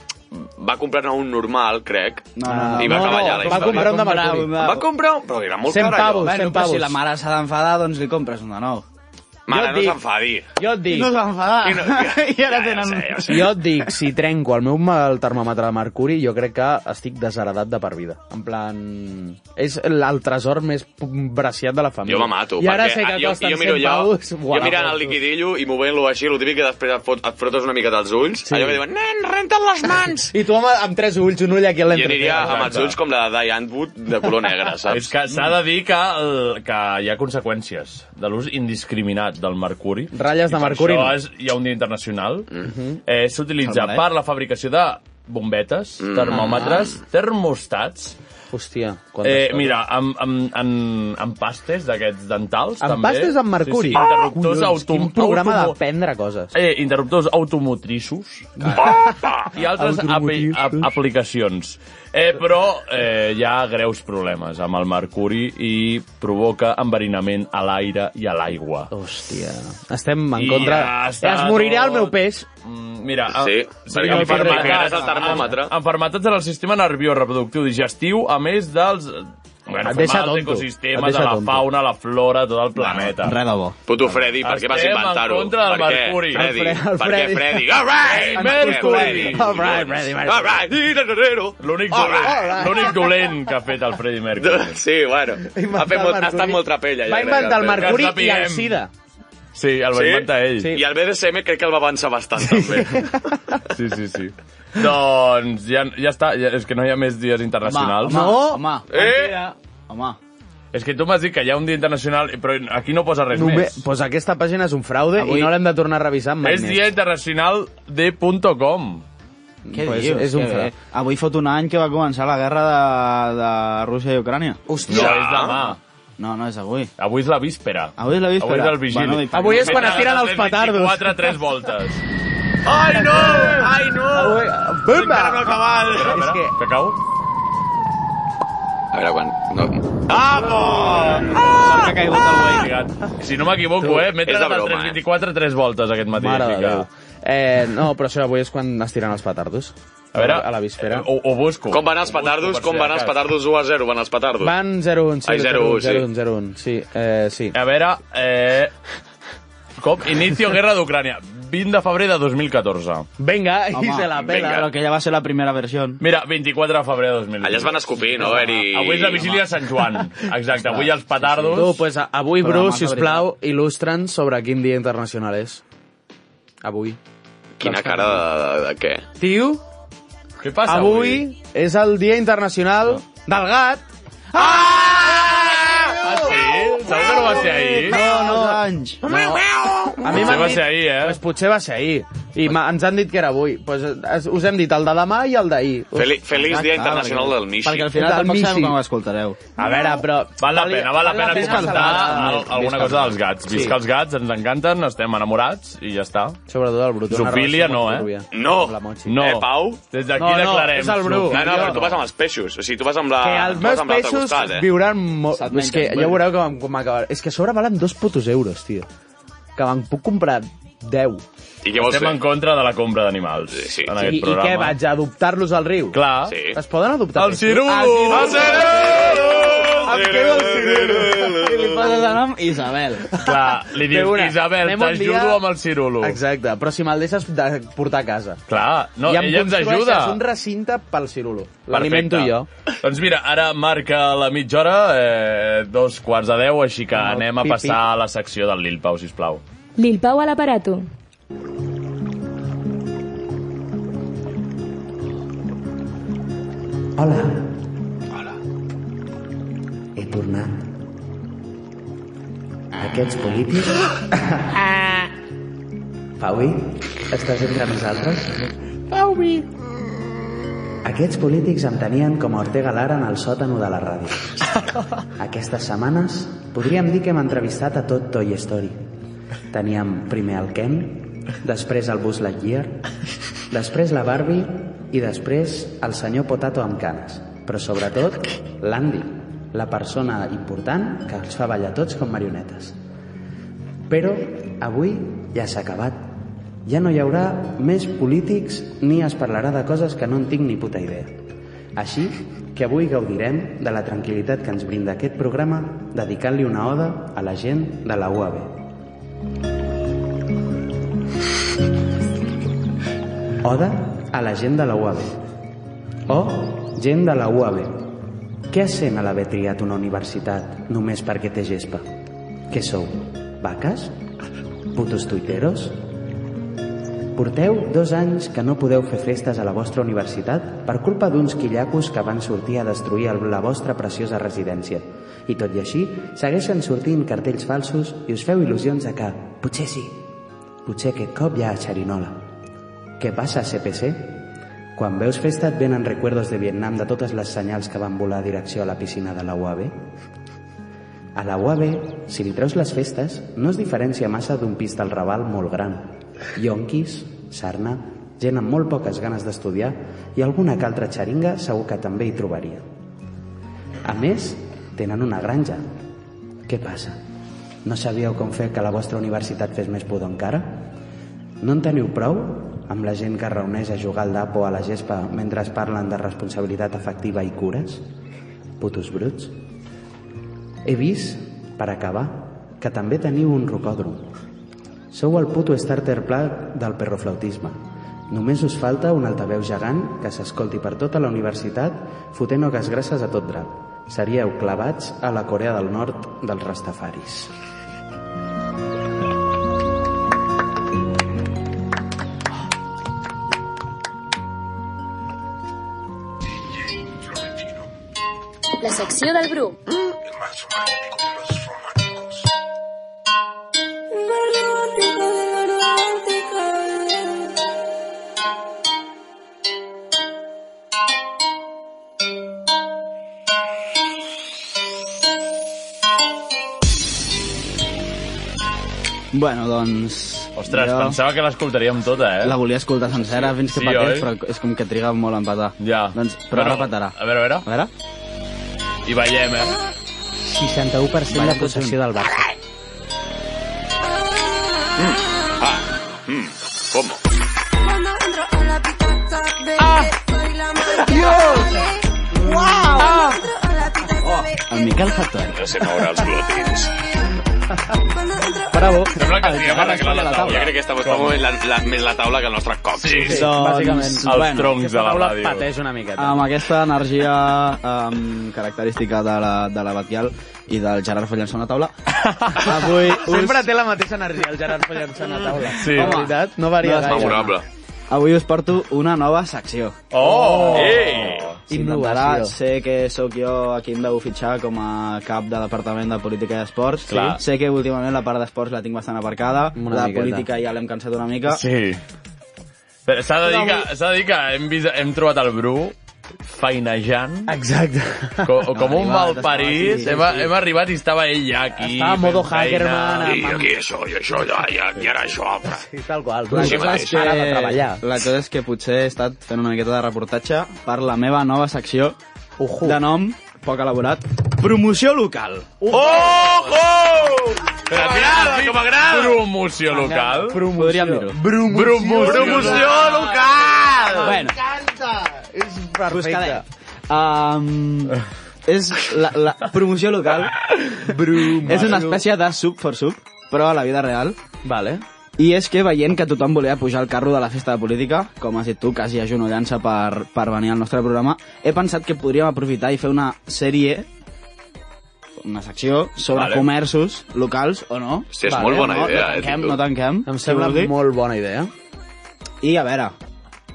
[SPEAKER 7] va comprar-ne un normal, crec,
[SPEAKER 9] No, no, no.
[SPEAKER 7] i va
[SPEAKER 8] no, no,
[SPEAKER 7] treballar la
[SPEAKER 8] va
[SPEAKER 7] història.
[SPEAKER 8] comprar un de mercuri.
[SPEAKER 9] un de-
[SPEAKER 7] Va comprar un, però era molt
[SPEAKER 8] 100
[SPEAKER 7] car, allò.
[SPEAKER 8] pavos.
[SPEAKER 9] Bueno,
[SPEAKER 8] cent
[SPEAKER 9] però si
[SPEAKER 8] pavos.
[SPEAKER 9] la mare s'ha d'enfadar, doncs li compres un de nou.
[SPEAKER 7] Mare,
[SPEAKER 8] Jo
[SPEAKER 7] no
[SPEAKER 8] dic-
[SPEAKER 7] s'enfadi.
[SPEAKER 8] Jo et dic,
[SPEAKER 9] No s'ha enfadat. I, ara
[SPEAKER 7] Ja, ja
[SPEAKER 9] tenen...
[SPEAKER 7] sé, ja sé.
[SPEAKER 8] Jo et dic, si trenco el meu ma- el termòmetre de mercuri, jo crec que estic desheredat de per vida. En plan... És l- el tresor més p- braciat de la família.
[SPEAKER 7] Jo me mato.
[SPEAKER 8] I ara
[SPEAKER 7] perquè,
[SPEAKER 8] sé
[SPEAKER 7] ah,
[SPEAKER 8] que
[SPEAKER 7] jo,
[SPEAKER 8] costen
[SPEAKER 7] jo miro
[SPEAKER 8] 100
[SPEAKER 7] allò,
[SPEAKER 8] paus.
[SPEAKER 7] Jo mirant el liquidillo i movent-lo així, el típic que després et, fot, et frotes una mica dels ulls,
[SPEAKER 8] Sí.
[SPEAKER 7] sí. allò que diuen, nen, renta't les mans!
[SPEAKER 8] I tu amb, amb tres ulls, un ull aquí a
[SPEAKER 7] I
[SPEAKER 8] l'entrada.
[SPEAKER 7] aniria amb els ulls com la de Diane Wood de color negre,
[SPEAKER 3] És
[SPEAKER 7] saps?
[SPEAKER 3] que s'ha de dir que, el, que hi ha conseqüències de l'ús indiscriminat del mercuri.
[SPEAKER 8] Ratlles de
[SPEAKER 3] I per
[SPEAKER 8] mercuri,
[SPEAKER 3] Això
[SPEAKER 8] no.
[SPEAKER 3] és, hi ha un dia internacional. Mm -hmm. eh, S'utilitza
[SPEAKER 9] Salvaret.
[SPEAKER 3] per la fabricació de bombetes, termòmetres, termostats...
[SPEAKER 8] Hòstia, quantes
[SPEAKER 3] Eh,
[SPEAKER 8] coses.
[SPEAKER 3] mira, amb, amb, amb, amb pastes d'aquests dentals,
[SPEAKER 8] Amb
[SPEAKER 3] també.
[SPEAKER 8] pastes amb mercuri.
[SPEAKER 3] Sí, sí, interruptors
[SPEAKER 8] Collons,
[SPEAKER 3] autom
[SPEAKER 8] quin programa
[SPEAKER 3] automo-
[SPEAKER 8] d'aprendre coses.
[SPEAKER 3] Eh, interruptors automotriços i altres api-
[SPEAKER 8] Automotriços.
[SPEAKER 3] ap- aplicacions. Eh, però eh, hi ha greus problemes amb el mercuri i provoca enverinament a l'aire i a l'aigua.
[SPEAKER 8] Hòstia, estem en
[SPEAKER 3] I
[SPEAKER 8] contra...
[SPEAKER 3] ja està
[SPEAKER 8] es morirà
[SPEAKER 3] tot.
[SPEAKER 8] el meu peix.
[SPEAKER 3] Mm, Mira,
[SPEAKER 7] Sí, perquè
[SPEAKER 3] no
[SPEAKER 7] li
[SPEAKER 3] podré
[SPEAKER 7] ficaràs
[SPEAKER 3] parar.
[SPEAKER 7] el termòmetre.
[SPEAKER 3] Em- Enfermetats en el sistema nerviós reproductiu digestiu, a més dels... Bueno,
[SPEAKER 8] Et deixa
[SPEAKER 3] formar els
[SPEAKER 8] tonto. Et
[SPEAKER 3] ecosistemes,
[SPEAKER 8] deixa
[SPEAKER 3] de la
[SPEAKER 8] tonto.
[SPEAKER 3] fauna, la flora, tot el planeta.
[SPEAKER 9] Res de bo.
[SPEAKER 7] Puto Freddy, per què vas
[SPEAKER 3] Estem en
[SPEAKER 7] inventar-ho?
[SPEAKER 3] contra del
[SPEAKER 7] Per què,
[SPEAKER 3] mercuri.
[SPEAKER 7] Freddy?
[SPEAKER 8] El Fre- el
[SPEAKER 7] Per què,
[SPEAKER 8] Freddy.
[SPEAKER 7] Freddy? All right!
[SPEAKER 3] Mercuri.
[SPEAKER 8] All right, Freddy, Freddy.
[SPEAKER 7] All right!
[SPEAKER 3] L'únic
[SPEAKER 7] All
[SPEAKER 3] dolent,
[SPEAKER 7] right.
[SPEAKER 3] l'únic dolent que ha fet el Freddie Mercury.
[SPEAKER 7] Sí, bueno. Ha, fet molt, ha estat molt trapella.
[SPEAKER 8] Va inventar el
[SPEAKER 3] Mercuri.
[SPEAKER 8] mercuri
[SPEAKER 3] Que
[SPEAKER 8] i el
[SPEAKER 3] sapiguem.
[SPEAKER 8] sida.
[SPEAKER 3] Sí, el va
[SPEAKER 7] Sí?
[SPEAKER 3] inventar ell.
[SPEAKER 8] Sí.
[SPEAKER 7] I el BDSM crec que el va avançar bastant, també.
[SPEAKER 3] Sí, sí, sí. doncs ja, ja està, ja, és que no hi ha més dies internacionals.
[SPEAKER 9] Home,
[SPEAKER 8] No.
[SPEAKER 9] home,
[SPEAKER 7] Eh?
[SPEAKER 9] home, home.
[SPEAKER 3] És que tu m'has dit que hi ha un dia internacional, però aquí no posa res
[SPEAKER 8] Només,
[SPEAKER 3] més.
[SPEAKER 8] Doncs pues aquesta pàgina és un fraude Avui...
[SPEAKER 9] Avui-
[SPEAKER 8] i no l'hem de tornar a revisar mai
[SPEAKER 3] És
[SPEAKER 8] més.
[SPEAKER 3] dia internacional de punto .com.
[SPEAKER 9] Què
[SPEAKER 8] Doncs Pues
[SPEAKER 9] dius?
[SPEAKER 8] és un
[SPEAKER 9] Que
[SPEAKER 8] fra-
[SPEAKER 9] bé. Avui fot un any que va començar la guerra de, de Rússia i Ucrània.
[SPEAKER 3] No, és demà.
[SPEAKER 9] No, no, és avui.
[SPEAKER 3] Avui és la víspera.
[SPEAKER 9] Avui és la víspera.
[SPEAKER 3] Avui és el vigili.
[SPEAKER 9] Bueno, i-
[SPEAKER 8] Avui és quan es tiren els petardos.
[SPEAKER 3] 4 tres voltes. Ai, no! Ai, no!
[SPEAKER 8] Avui- Bumba!
[SPEAKER 3] Encara no ha acabat.
[SPEAKER 8] És
[SPEAKER 3] Espera,
[SPEAKER 8] que-
[SPEAKER 3] que cau?
[SPEAKER 7] A veure quan... No. Ah!
[SPEAKER 3] S'ha caigut el veïn. Si no m'equivoco, eh? M'he
[SPEAKER 11] És de
[SPEAKER 3] tragat
[SPEAKER 11] broma,
[SPEAKER 3] 324 tres voltes aquest matí.
[SPEAKER 11] Mare de
[SPEAKER 3] així que-
[SPEAKER 11] Déu. Eh, no, però això avui és quan es tiren els petardos.
[SPEAKER 3] A veure, eh,
[SPEAKER 11] a la víspera.
[SPEAKER 3] Ho, ho busco.
[SPEAKER 7] Com van els
[SPEAKER 3] Ho busco,
[SPEAKER 7] petardos?
[SPEAKER 3] per
[SPEAKER 7] Com
[SPEAKER 3] si
[SPEAKER 7] van
[SPEAKER 3] de
[SPEAKER 7] els
[SPEAKER 3] cas.
[SPEAKER 7] petardos 1 a 0? Van els petardos?
[SPEAKER 11] Van 0-1, sí.
[SPEAKER 7] Ai, 0-1, sí.
[SPEAKER 11] 0-1, 0-1, sí. Eh, sí.
[SPEAKER 3] A veure, eh... Com? Inicio guerra d'Ucrània. 20 de febrer de 2014.
[SPEAKER 11] Venga,
[SPEAKER 3] y se la pela.
[SPEAKER 12] Però que ja va ser la primera versió.
[SPEAKER 3] Mira, 24 de febrer de 2020.
[SPEAKER 7] Allà es van escopir, no, Eri?
[SPEAKER 3] Avui és la vigília de Sant Joan. Exacte, avui els petardos...
[SPEAKER 11] Tu, pues, a- avui,
[SPEAKER 3] Però
[SPEAKER 11] Bru,
[SPEAKER 3] demà
[SPEAKER 11] si us plau, il·lustra'ns sobre quin dia internacional és. Avui.
[SPEAKER 7] Quina cara de, de, de què?
[SPEAKER 11] Tio,
[SPEAKER 3] Què
[SPEAKER 7] passa
[SPEAKER 11] avui, és el Dia Internacional del Gat.
[SPEAKER 3] Ah, sí? Segur que no va ser ahir?
[SPEAKER 11] No, no. no. A mi
[SPEAKER 3] Potser
[SPEAKER 11] m'han
[SPEAKER 3] va
[SPEAKER 11] dit-
[SPEAKER 3] ser ahir, eh?
[SPEAKER 11] Pues potser va ser ahir. I m'ha- ens han dit que era avui. Pues, es- us hem dit el de demà i el d'ahir. Us-
[SPEAKER 7] Feli- feliç Dia Internacional del Michi.
[SPEAKER 12] Perquè al final
[SPEAKER 11] Del
[SPEAKER 12] tampoc sabem
[SPEAKER 11] Michi.
[SPEAKER 12] quan ho escoltareu.
[SPEAKER 11] A veure, però...
[SPEAKER 3] Val la
[SPEAKER 11] Val-
[SPEAKER 3] pena, val la
[SPEAKER 11] val la
[SPEAKER 3] pena
[SPEAKER 11] pena
[SPEAKER 3] comentar
[SPEAKER 11] salvar-la.
[SPEAKER 3] al- alguna
[SPEAKER 11] Visca
[SPEAKER 3] cosa
[SPEAKER 11] els
[SPEAKER 3] dels
[SPEAKER 11] gats.
[SPEAKER 3] gats.
[SPEAKER 11] Sí.
[SPEAKER 3] Visca els gats, ens encanten, estem enamorats i ja està.
[SPEAKER 11] Sobretot el Bru. té una
[SPEAKER 3] Zoofilia
[SPEAKER 11] relació
[SPEAKER 3] no,
[SPEAKER 11] molt
[SPEAKER 3] eh?
[SPEAKER 11] turbia.
[SPEAKER 7] No, no. Eh, Pau?
[SPEAKER 3] Des d'aquí No, no, declarem. és el Bru.
[SPEAKER 7] No, no,
[SPEAKER 3] Jo
[SPEAKER 7] però tu
[SPEAKER 3] no.
[SPEAKER 7] vas amb els peixos. O sigui, tu vas amb la...
[SPEAKER 11] Que els
[SPEAKER 7] tu vas
[SPEAKER 11] meus
[SPEAKER 7] amb l'altre
[SPEAKER 11] peixos
[SPEAKER 7] costat, eh?
[SPEAKER 11] viuran molt... És que
[SPEAKER 7] mengen,
[SPEAKER 11] ja
[SPEAKER 7] bueno.
[SPEAKER 11] veureu que vam- com acabar. És que a sobre valen dos putos euros, tio. Que me'n puc comprar 10.
[SPEAKER 7] I què vols
[SPEAKER 3] Estem
[SPEAKER 7] fer?
[SPEAKER 3] en contra de la compra d'animals sí, sí. en
[SPEAKER 11] I,
[SPEAKER 3] aquest
[SPEAKER 11] I
[SPEAKER 3] programa. eh?
[SPEAKER 11] què, vaig a adoptar-los al riu?
[SPEAKER 3] Clar.
[SPEAKER 11] Sí. Es poden adoptar? Ah,
[SPEAKER 3] El cirulo!
[SPEAKER 11] El
[SPEAKER 3] El cirulo!
[SPEAKER 11] Em quedo el cirulo! I li poses el nom
[SPEAKER 12] Isabel.
[SPEAKER 3] Clar, li dius,
[SPEAKER 11] Té una,
[SPEAKER 3] Isabel,
[SPEAKER 11] anem un
[SPEAKER 3] t'ajudo
[SPEAKER 11] dia-
[SPEAKER 3] amb el cirulo.
[SPEAKER 11] Exacte, però si me'l deixes de portar a casa.
[SPEAKER 3] Clar, no,
[SPEAKER 11] I em
[SPEAKER 3] ella ens
[SPEAKER 11] construeixes
[SPEAKER 3] ajuda.
[SPEAKER 11] un recinte pel cirulo.
[SPEAKER 3] Perfecte.
[SPEAKER 11] L'alimento jo.
[SPEAKER 3] Doncs mira, ara marca la mitja hora, eh, dos quarts de deu, així que anem a
[SPEAKER 1] pipi.
[SPEAKER 3] passar a la secció del Lil Pau, sisplau.
[SPEAKER 1] Lil Pau a l'aparato.
[SPEAKER 8] Hola. Hola. He tornat. Aquests polítics... Paui, estàs entre nosaltres?
[SPEAKER 13] Pauvi.
[SPEAKER 8] Aquests polítics em tenien com a Ortega Lara en el sòtano de la ràdio. Aquestes setmanes podríem dir que hem entrevistat a tot Toy Story. Teníem primer el Ken, després el Buzz Lightyear, després la Barbie i després el senyor Potato amb canes. Però sobretot l'Andy, la persona important que els fa ballar tots com marionetes. Però avui ja s'ha acabat. Ja no hi haurà més polítics ni es parlarà de coses que no en tinc ni puta idea. Així que avui gaudirem de la tranquil·litat que ens brinda aquest programa dedicant-li una oda a la gent de la UAB. Oda a la gent de la UAB. O Oh, gent de la UAB. Què sent a l'haver triat una universitat només perquè té gespa? Què sou? Vaques? Putos tuiteros? Porteu dos anys que no podeu fer festes a la vostra universitat per culpa d'uns quillacos que van sortir a destruir el- la vostra preciosa residència. I tot i així, segueixen sortint cartells falsos i us feu il·lusions de que potser sí, potser aquest cop hi ha xerinola. Què passa, CPC? Quan veus festa et venen recuerdos de Vietnam de totes les senyals que van volar direcció a la piscina de la UAB? A la UAB, si li treus les festes, no es diferencia massa d'un pis del Raval molt gran. Yonquis, sarna, gent amb molt poques ganes d'estudiar i alguna que altra xeringa segur que també hi trobaria. A més, tenen una granja. Què passa? No sabíeu com fer que la vostra universitat fes més pudor encara? No en teniu prou amb la gent que es reuneix a jugar al dapo a la gespa mentre es parlen de responsabilitat afectiva i cures? Putos bruts. He vist, per acabar, que també teniu un rocòdrom. Sou el puto starter pla del perroflautisme. Només us falta un altaveu gegant que s'escolti per tota la universitat fotent oques grasses a tot drap. Seríeu clavats a la Corea del Nord dels rastafaris.
[SPEAKER 14] La secció del Bru.
[SPEAKER 12] Bueno, doncs...
[SPEAKER 3] Ostres,
[SPEAKER 12] jo
[SPEAKER 3] pensava que l'escoltaríem tota, eh?
[SPEAKER 12] La volia escoltar sencera fins que
[SPEAKER 3] Sí,
[SPEAKER 12] patés,
[SPEAKER 3] oi?
[SPEAKER 12] però és com que triga molt a empatar.
[SPEAKER 3] Ja.
[SPEAKER 12] Doncs, però
[SPEAKER 3] Bueno,
[SPEAKER 12] ara patarà.
[SPEAKER 3] A veure, a veure.
[SPEAKER 12] A veure?
[SPEAKER 3] I ballem, eh?
[SPEAKER 15] 61% de
[SPEAKER 3] Ballem
[SPEAKER 15] possessió
[SPEAKER 12] doncs
[SPEAKER 15] del Barça.
[SPEAKER 7] Ah, mm, com?
[SPEAKER 9] Ah!
[SPEAKER 5] ¡Wow!
[SPEAKER 8] El Miquel Factor.
[SPEAKER 7] No sé moure els glútins.
[SPEAKER 16] Bravo.
[SPEAKER 7] Sembla que sí,
[SPEAKER 8] Ara
[SPEAKER 7] ara
[SPEAKER 8] està
[SPEAKER 7] que la,
[SPEAKER 8] la
[SPEAKER 7] taula.
[SPEAKER 8] taula.
[SPEAKER 7] Jo crec que està buscant moment la, la, més la taula que el nostre cop. Sí,
[SPEAKER 8] sí, Doncs, bàsicament. els troncs
[SPEAKER 15] aquesta
[SPEAKER 8] de la
[SPEAKER 15] taula
[SPEAKER 8] ràdio.
[SPEAKER 15] pateix una miqueta.
[SPEAKER 8] Amb aquesta energia um, característica de la, de la Batial i del Gerard Follençó a la taula, avui us...
[SPEAKER 16] Sempre té la mateixa energia el Gerard Follençó a la taula.
[SPEAKER 8] Sí.
[SPEAKER 16] La veritat, no varia
[SPEAKER 8] No, és
[SPEAKER 16] gaire.
[SPEAKER 8] memorable. Avui us porto una nova secció.
[SPEAKER 16] Oh! Ei!
[SPEAKER 8] Innovarà,
[SPEAKER 16] Innovació.
[SPEAKER 8] sé que sóc jo a qui em veu fitxar com a cap de Departament de Política i Esports.
[SPEAKER 15] Clar.
[SPEAKER 8] Sé que últimament la part d'esports la tinc bastant aparcada.
[SPEAKER 15] Una
[SPEAKER 8] la
[SPEAKER 15] miqueta.
[SPEAKER 8] política ja l'hem cansat una mica.
[SPEAKER 3] Sí. Però S'ha de, dir que, s'ha de dir que hem, vist, hem trobat el Bru feinejant.
[SPEAKER 16] Exacte.
[SPEAKER 3] Com, com
[SPEAKER 16] No,
[SPEAKER 3] un
[SPEAKER 16] arribat,
[SPEAKER 3] malparís.
[SPEAKER 16] estava- sí, sí,
[SPEAKER 3] hem,
[SPEAKER 16] sí.
[SPEAKER 3] hem arribat i estava ell ja aquí.
[SPEAKER 16] Estava a modo
[SPEAKER 3] fent feina.
[SPEAKER 16] hackerman,
[SPEAKER 7] I aquí això, i això, i, allà, i ara això altre.
[SPEAKER 16] Sí, tal qual.
[SPEAKER 8] La
[SPEAKER 7] Així
[SPEAKER 8] cosa, és
[SPEAKER 7] mateix.
[SPEAKER 8] que, la cosa és que potser he estat fent una miqueta de reportatge per la meva nova secció de nom poc elaborat. Promoció local.
[SPEAKER 3] Oh! Oh!
[SPEAKER 8] Que m'agrada, que m'agrada.
[SPEAKER 3] Promoció local.
[SPEAKER 8] Podríem dir-ho.
[SPEAKER 3] Promoció. Promoció local.
[SPEAKER 8] Bueno,
[SPEAKER 17] M'encanta! És
[SPEAKER 8] Buscadet. Um, és la, la promoció local. és una espècie de sub for sub, però a la vida real.
[SPEAKER 16] Vale.
[SPEAKER 8] I és que veient que tothom volia pujar al carro de la festa de política, com has dit tu, quasi agenollant-se per, per venir al nostre programa, he pensat que podríem aprofitar i fer una sèrie una secció sobre
[SPEAKER 16] Vale.
[SPEAKER 8] vale. comerços locals o no.
[SPEAKER 16] Hòstia, és molt bona
[SPEAKER 8] no,
[SPEAKER 16] idea, eh,
[SPEAKER 8] No tanquem,
[SPEAKER 16] tio.
[SPEAKER 8] no tanquem.
[SPEAKER 16] Em sembla
[SPEAKER 8] Què vol dir?
[SPEAKER 16] molt bona idea.
[SPEAKER 8] I a veure,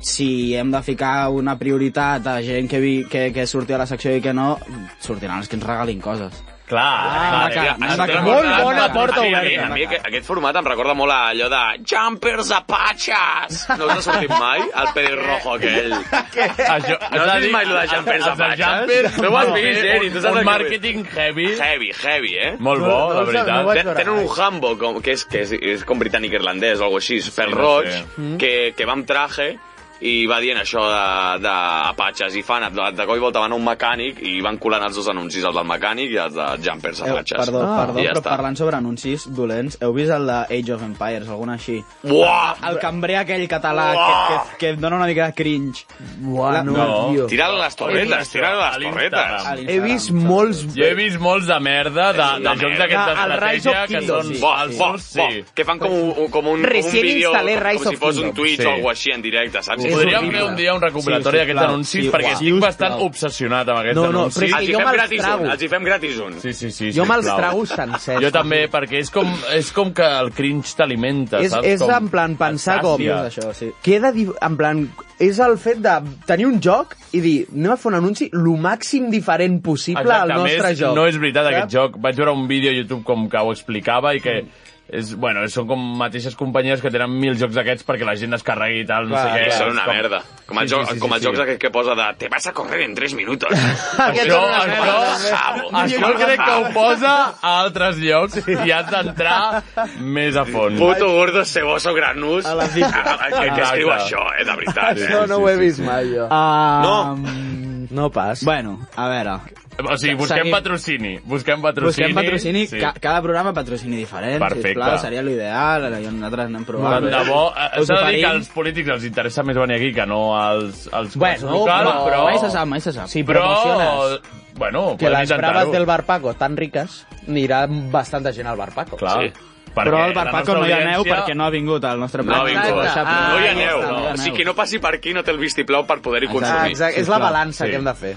[SPEAKER 8] si hem de ficar una prioritat a gent que, vi, que, que surti a la secció i que no, sortiran els que ens regalin coses.
[SPEAKER 3] Clar,
[SPEAKER 8] clar,
[SPEAKER 7] clar,
[SPEAKER 8] clar, clar.
[SPEAKER 7] clar.
[SPEAKER 8] Molt bona porta
[SPEAKER 7] a mi, A
[SPEAKER 8] oberta.
[SPEAKER 7] mi, a mi aquest- aquest format em recorda molt a allò de Jumpers Apaches. No us ha sortit mai el pelirrojo aquell?
[SPEAKER 3] Això,
[SPEAKER 7] No has vist mai lo de Jumpers Apaches? No ho has vist, Eri. tu saps
[SPEAKER 3] Un
[SPEAKER 7] el que vull dir.
[SPEAKER 3] màrqueting heavy.
[SPEAKER 7] Heavy, heavy, eh?
[SPEAKER 3] Molt bo, No, no la ho sap- veritat. no ho vaig veure
[SPEAKER 7] Tenen un jambo, com, que, és, que és, és com britànic-irlandès o alguna així, pel
[SPEAKER 3] no
[SPEAKER 7] roig,
[SPEAKER 3] sé.
[SPEAKER 7] que, que va amb traje i va dient això de, de Apaches i fan, de, de coi volta van a un mecànic i van colant els dos anuncis, el del mecànic i els de Jumpers
[SPEAKER 8] Heu,
[SPEAKER 7] Apaches.
[SPEAKER 8] perdó, ah, perdó,
[SPEAKER 7] I
[SPEAKER 8] ja
[SPEAKER 7] ja
[SPEAKER 8] però
[SPEAKER 7] està.
[SPEAKER 8] parlant sobre anuncis dolents, heu vist el de Age of Empires, alguna així?
[SPEAKER 7] Buah!
[SPEAKER 8] El cambrer aquell català que, que, que em dona una mica de cringe.
[SPEAKER 16] Buah,
[SPEAKER 8] la,
[SPEAKER 3] no, No. tio.
[SPEAKER 7] Tirant les torretes, tirant
[SPEAKER 3] A
[SPEAKER 7] les
[SPEAKER 3] l'Instagram.
[SPEAKER 7] torretes.
[SPEAKER 3] He vist molts... Jo he vist molts de merda de,
[SPEAKER 7] Sí,
[SPEAKER 3] de
[SPEAKER 7] de
[SPEAKER 3] jocs
[SPEAKER 7] merda.
[SPEAKER 3] d'aquesta
[SPEAKER 7] Ah, el Rise
[SPEAKER 3] estratègia
[SPEAKER 7] of
[SPEAKER 3] que
[SPEAKER 7] Kingdoms,
[SPEAKER 3] són
[SPEAKER 7] sí, sí.
[SPEAKER 3] falsos.
[SPEAKER 7] Bo, bo,
[SPEAKER 3] Sí.
[SPEAKER 7] que fan com un, un- com un, un
[SPEAKER 3] Recién
[SPEAKER 7] vídeo,
[SPEAKER 3] instal·lé Rise
[SPEAKER 7] com
[SPEAKER 3] of
[SPEAKER 7] si fos un
[SPEAKER 3] Kingdoms.
[SPEAKER 7] Twitch
[SPEAKER 3] Sí.
[SPEAKER 7] o alguna així en directe, saps?
[SPEAKER 3] Sí, Podríem fer un dia un recopilatori
[SPEAKER 7] Sí,
[SPEAKER 3] d'aquests
[SPEAKER 7] sisplau,
[SPEAKER 3] anuncis
[SPEAKER 7] sí,
[SPEAKER 3] perquè
[SPEAKER 7] uau.
[SPEAKER 3] estic bastant
[SPEAKER 7] Sisplau.
[SPEAKER 3] obsessionat amb aquests
[SPEAKER 7] No, no,
[SPEAKER 3] anuncis.
[SPEAKER 7] però és que Els hi jo fem me'ls gratis un, trago. els hi fem gratis un.
[SPEAKER 3] Sí, sí, sí.
[SPEAKER 7] Jo me'ls
[SPEAKER 3] sisplau.
[SPEAKER 7] trago
[SPEAKER 16] sencers.
[SPEAKER 3] Jo també, perquè és com, és com que el cringe t'alimenta,
[SPEAKER 16] És,
[SPEAKER 3] saps?
[SPEAKER 16] és
[SPEAKER 3] com...
[SPEAKER 16] en plan pensar
[SPEAKER 3] et
[SPEAKER 16] com...
[SPEAKER 3] sacia.
[SPEAKER 16] Queda, di- en plan, és el fet de tenir un joc i dir, anem a fer un anunci lo màxim diferent possible
[SPEAKER 3] Exacte,
[SPEAKER 16] al
[SPEAKER 3] a
[SPEAKER 16] nostre
[SPEAKER 3] més,
[SPEAKER 16] joc.
[SPEAKER 3] No és veritat
[SPEAKER 16] Saps?
[SPEAKER 3] aquest joc. Vaig veure un vídeo a YouTube com que ho explicava i que és, bueno, són com mateixes companyies que tenen mil jocs d'aquests perquè la gent es carregui i tal, no sé què.
[SPEAKER 7] Són una
[SPEAKER 3] com-
[SPEAKER 7] merda. Com els, joc, com els jocs aquests que posa de te vas a correr en 3 minutos.
[SPEAKER 3] Això, això, això crec que ho posa a altres llocs i has d'entrar més a fons.
[SPEAKER 7] Puto gordo ceboso granús.
[SPEAKER 3] A les dita.
[SPEAKER 7] Ah, ah, Que, que escriu
[SPEAKER 3] Exacte.
[SPEAKER 7] això, eh, de veritat. Eh?
[SPEAKER 16] Això no ho he vist mai, jo.
[SPEAKER 8] Ah,
[SPEAKER 3] Mm,
[SPEAKER 16] No pas.
[SPEAKER 8] Bueno, a veure.
[SPEAKER 3] O sigui, busquem
[SPEAKER 8] Seguim.
[SPEAKER 3] patrocini. Busquem patrocini.
[SPEAKER 8] Busquem patrocini,
[SPEAKER 3] Sí.
[SPEAKER 8] ca cada programa patrocini diferent,
[SPEAKER 3] Perfecte.
[SPEAKER 8] sisplau, seria l'ideal, allò nosaltres anem
[SPEAKER 3] Tant
[SPEAKER 8] provant.
[SPEAKER 3] de bo, eh,
[SPEAKER 8] Us
[SPEAKER 3] s'ha de dir
[SPEAKER 8] oferim-
[SPEAKER 3] que als polítics els interessa més venir aquí que no als, als
[SPEAKER 16] Bueno, però- mai se sap, mai se sap. Si promociones
[SPEAKER 3] Bueno,
[SPEAKER 16] que
[SPEAKER 3] podem
[SPEAKER 16] les braves
[SPEAKER 3] intentar-ho.
[SPEAKER 16] del Bar Paco tan riques, anirà bastanta gent al Bar Paco.
[SPEAKER 3] Clar. Sí.
[SPEAKER 8] Però al Barpaco no hi aneu perquè no ha vingut al nostre
[SPEAKER 7] No,
[SPEAKER 8] programa.
[SPEAKER 7] vingut.
[SPEAKER 8] Exacte.
[SPEAKER 7] no hi
[SPEAKER 8] Ah,
[SPEAKER 7] aneu.
[SPEAKER 8] no hi
[SPEAKER 7] O sigui, qui no passi per aquí no té el vistiplau per poder-hi consumir.
[SPEAKER 16] fer.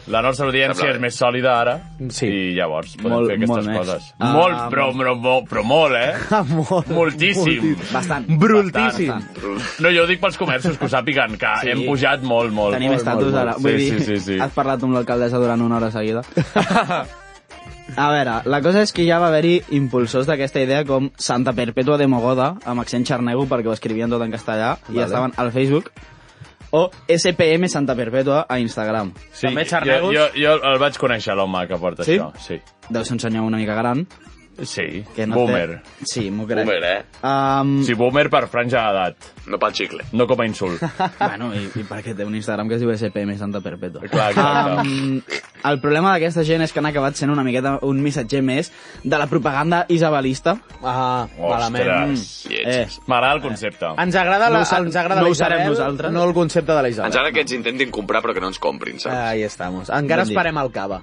[SPEAKER 3] La nostra audiència
[SPEAKER 7] Sembla
[SPEAKER 3] és més sòlida ara sí. i llavors podem
[SPEAKER 8] Molt-
[SPEAKER 3] fer aquestes
[SPEAKER 8] molt més.
[SPEAKER 3] coses.
[SPEAKER 8] Ah,
[SPEAKER 3] molt, però, però, però, però molt, eh?
[SPEAKER 16] molt,
[SPEAKER 3] Moltíssim.
[SPEAKER 8] Bastant.
[SPEAKER 3] Brultíssim. No, jo ho dic pels comerços, que ho sàpiguen, que
[SPEAKER 8] Sí.
[SPEAKER 3] sí. hem pujat molt, molt.
[SPEAKER 8] Tenim
[SPEAKER 3] molt,
[SPEAKER 8] estatus
[SPEAKER 3] molt,
[SPEAKER 8] ara.
[SPEAKER 3] molt.
[SPEAKER 8] Vull
[SPEAKER 3] sí,
[SPEAKER 8] dir,
[SPEAKER 3] sí, sí, sí.
[SPEAKER 8] has parlat amb l'alcaldessa durant una hora seguida. A veure, la cosa és que ja va haver-hi impulsors d'aquesta idea com Santa Perpètua de Mogoda, amb accent xarnego perquè ho escrivien tot en castellà i
[SPEAKER 15] Vale.
[SPEAKER 8] estaven al Facebook, o SPM Santa Perpètua a Instagram.
[SPEAKER 3] Sí, jo, jo, jo el vaig conèixer, l'home que porta
[SPEAKER 8] Sí?
[SPEAKER 3] això. Sí.
[SPEAKER 8] Deu ser un senyor una mica gran.
[SPEAKER 3] Sí,
[SPEAKER 8] Que no
[SPEAKER 3] boomer.
[SPEAKER 8] Té... Sí, m'ho crec.
[SPEAKER 3] Boomer, eh?
[SPEAKER 8] Um...
[SPEAKER 3] Sí, boomer per franja d'edat.
[SPEAKER 7] No pel xicle.
[SPEAKER 3] No com a insult.
[SPEAKER 8] bueno, i, i perquè té un Instagram que es diu SP més tanta perpètua.
[SPEAKER 3] Clar, clar,
[SPEAKER 8] Um, el problema d'aquesta gent és que han acabat sent una miqueta un missatger més de la propaganda isabelista.
[SPEAKER 18] Ah,
[SPEAKER 3] malament.
[SPEAKER 8] Eh.
[SPEAKER 3] M'agrada el concepte.
[SPEAKER 18] Ens agrada la, ens agrada la Isabel, No el concepte de la Isabel.
[SPEAKER 7] Ens agrada que ens intentin comprar però que no ens comprin,
[SPEAKER 8] Ah.
[SPEAKER 7] saps?
[SPEAKER 18] Ahí estamos. Encara
[SPEAKER 7] Ben dit.
[SPEAKER 18] esperem el cava.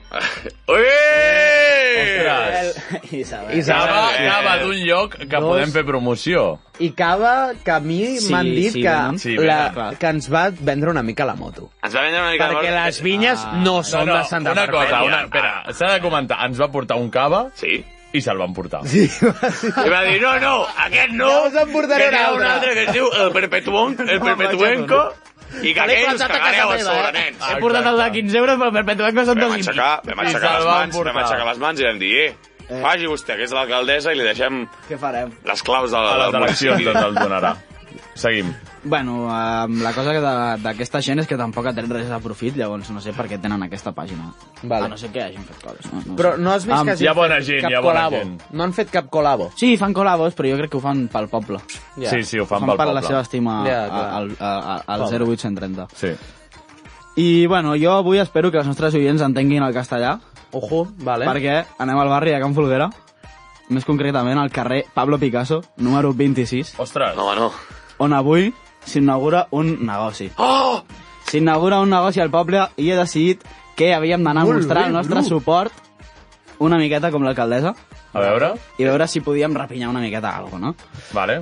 [SPEAKER 7] Ostres!
[SPEAKER 8] Isabel.
[SPEAKER 3] Cava, cava d'un lloc que
[SPEAKER 18] Dos.
[SPEAKER 3] podem fer promoció.
[SPEAKER 18] I cava que a mi
[SPEAKER 3] Sí,
[SPEAKER 18] m'han dit
[SPEAKER 3] sí,
[SPEAKER 18] que,
[SPEAKER 3] venen. Sí, venen,
[SPEAKER 18] la,
[SPEAKER 3] clar.
[SPEAKER 18] que ens va vendre una mica la moto.
[SPEAKER 7] Ens va vendre una mica
[SPEAKER 18] Perquè les vinyes
[SPEAKER 8] Ah,
[SPEAKER 18] no són de Santa
[SPEAKER 3] Una cosa,
[SPEAKER 18] Barbèria.
[SPEAKER 3] una, espera, s'ha de comentar. Ens va portar un cava sí. i se'l van portar.
[SPEAKER 18] Sí.
[SPEAKER 7] I va dir, no, no, aquest no,
[SPEAKER 18] Ja us en portaré
[SPEAKER 7] que n'hi ha
[SPEAKER 18] un
[SPEAKER 7] un altre
[SPEAKER 18] altre
[SPEAKER 7] que es diu el, perpetuon, el perpetuenco, i que
[SPEAKER 19] Me l'he
[SPEAKER 7] aquell
[SPEAKER 19] plantat
[SPEAKER 7] us
[SPEAKER 19] a casa
[SPEAKER 7] cagareu a
[SPEAKER 19] meva,
[SPEAKER 7] sobre,
[SPEAKER 19] eh?
[SPEAKER 7] nens.
[SPEAKER 19] He portat el de 15 euros, però perpetuant que són
[SPEAKER 7] Vam
[SPEAKER 19] dos i
[SPEAKER 7] aixecar,
[SPEAKER 19] mig.
[SPEAKER 7] vam aixecar les mans, vam aixecar les mans i vam dir, eh, faci vostè, que és l'alcaldessa, i li deixem
[SPEAKER 8] Què farem?
[SPEAKER 7] les claus de la...
[SPEAKER 3] A les
[SPEAKER 7] del
[SPEAKER 3] eleccions
[SPEAKER 7] municipi.
[SPEAKER 3] ens el donarà. Seguim.
[SPEAKER 8] Bueno, um, la cosa que de- d'aquesta gent és que tampoc ha tret res de profit, llavors no sé per què tenen aquesta pàgina.
[SPEAKER 18] Vale.
[SPEAKER 8] A no sé què hagin fet coses. No, no ho
[SPEAKER 18] Però
[SPEAKER 8] sé.
[SPEAKER 18] no has vist
[SPEAKER 8] Am,
[SPEAKER 18] que hagin fet cap col·labo. No han fet cap col·labo.
[SPEAKER 8] Sí, fan col·labos, però jo crec que ho fan pel poble.
[SPEAKER 18] Ja. Sí, sí, ho fan pel
[SPEAKER 8] per
[SPEAKER 18] poble.
[SPEAKER 8] la seva estima
[SPEAKER 18] Ja,
[SPEAKER 8] a-
[SPEAKER 18] clar.
[SPEAKER 8] al, a- a- al
[SPEAKER 18] Pobre.
[SPEAKER 8] 08130.
[SPEAKER 3] Sí.
[SPEAKER 8] I, bueno, jo avui espero que els nostres oients entenguin el castellà.
[SPEAKER 18] Ojo, vale.
[SPEAKER 8] Perquè anem al barri de Can Folguera, més concretament al carrer Pablo Picasso, número 26.
[SPEAKER 3] Ostres.
[SPEAKER 7] No, no.
[SPEAKER 8] On avui s'inaugura un negoci.
[SPEAKER 7] Oh!
[SPEAKER 8] S'inaugura un negoci al poble i he decidit que havíem d'anar a
[SPEAKER 3] Molt
[SPEAKER 8] mostrar
[SPEAKER 3] bé,
[SPEAKER 8] el nostre
[SPEAKER 3] Bru.
[SPEAKER 8] suport una miqueta com l'alcaldessa.
[SPEAKER 3] A veure.
[SPEAKER 8] I veure si podíem repinyar una miqueta alguna cosa, no?
[SPEAKER 3] Vale.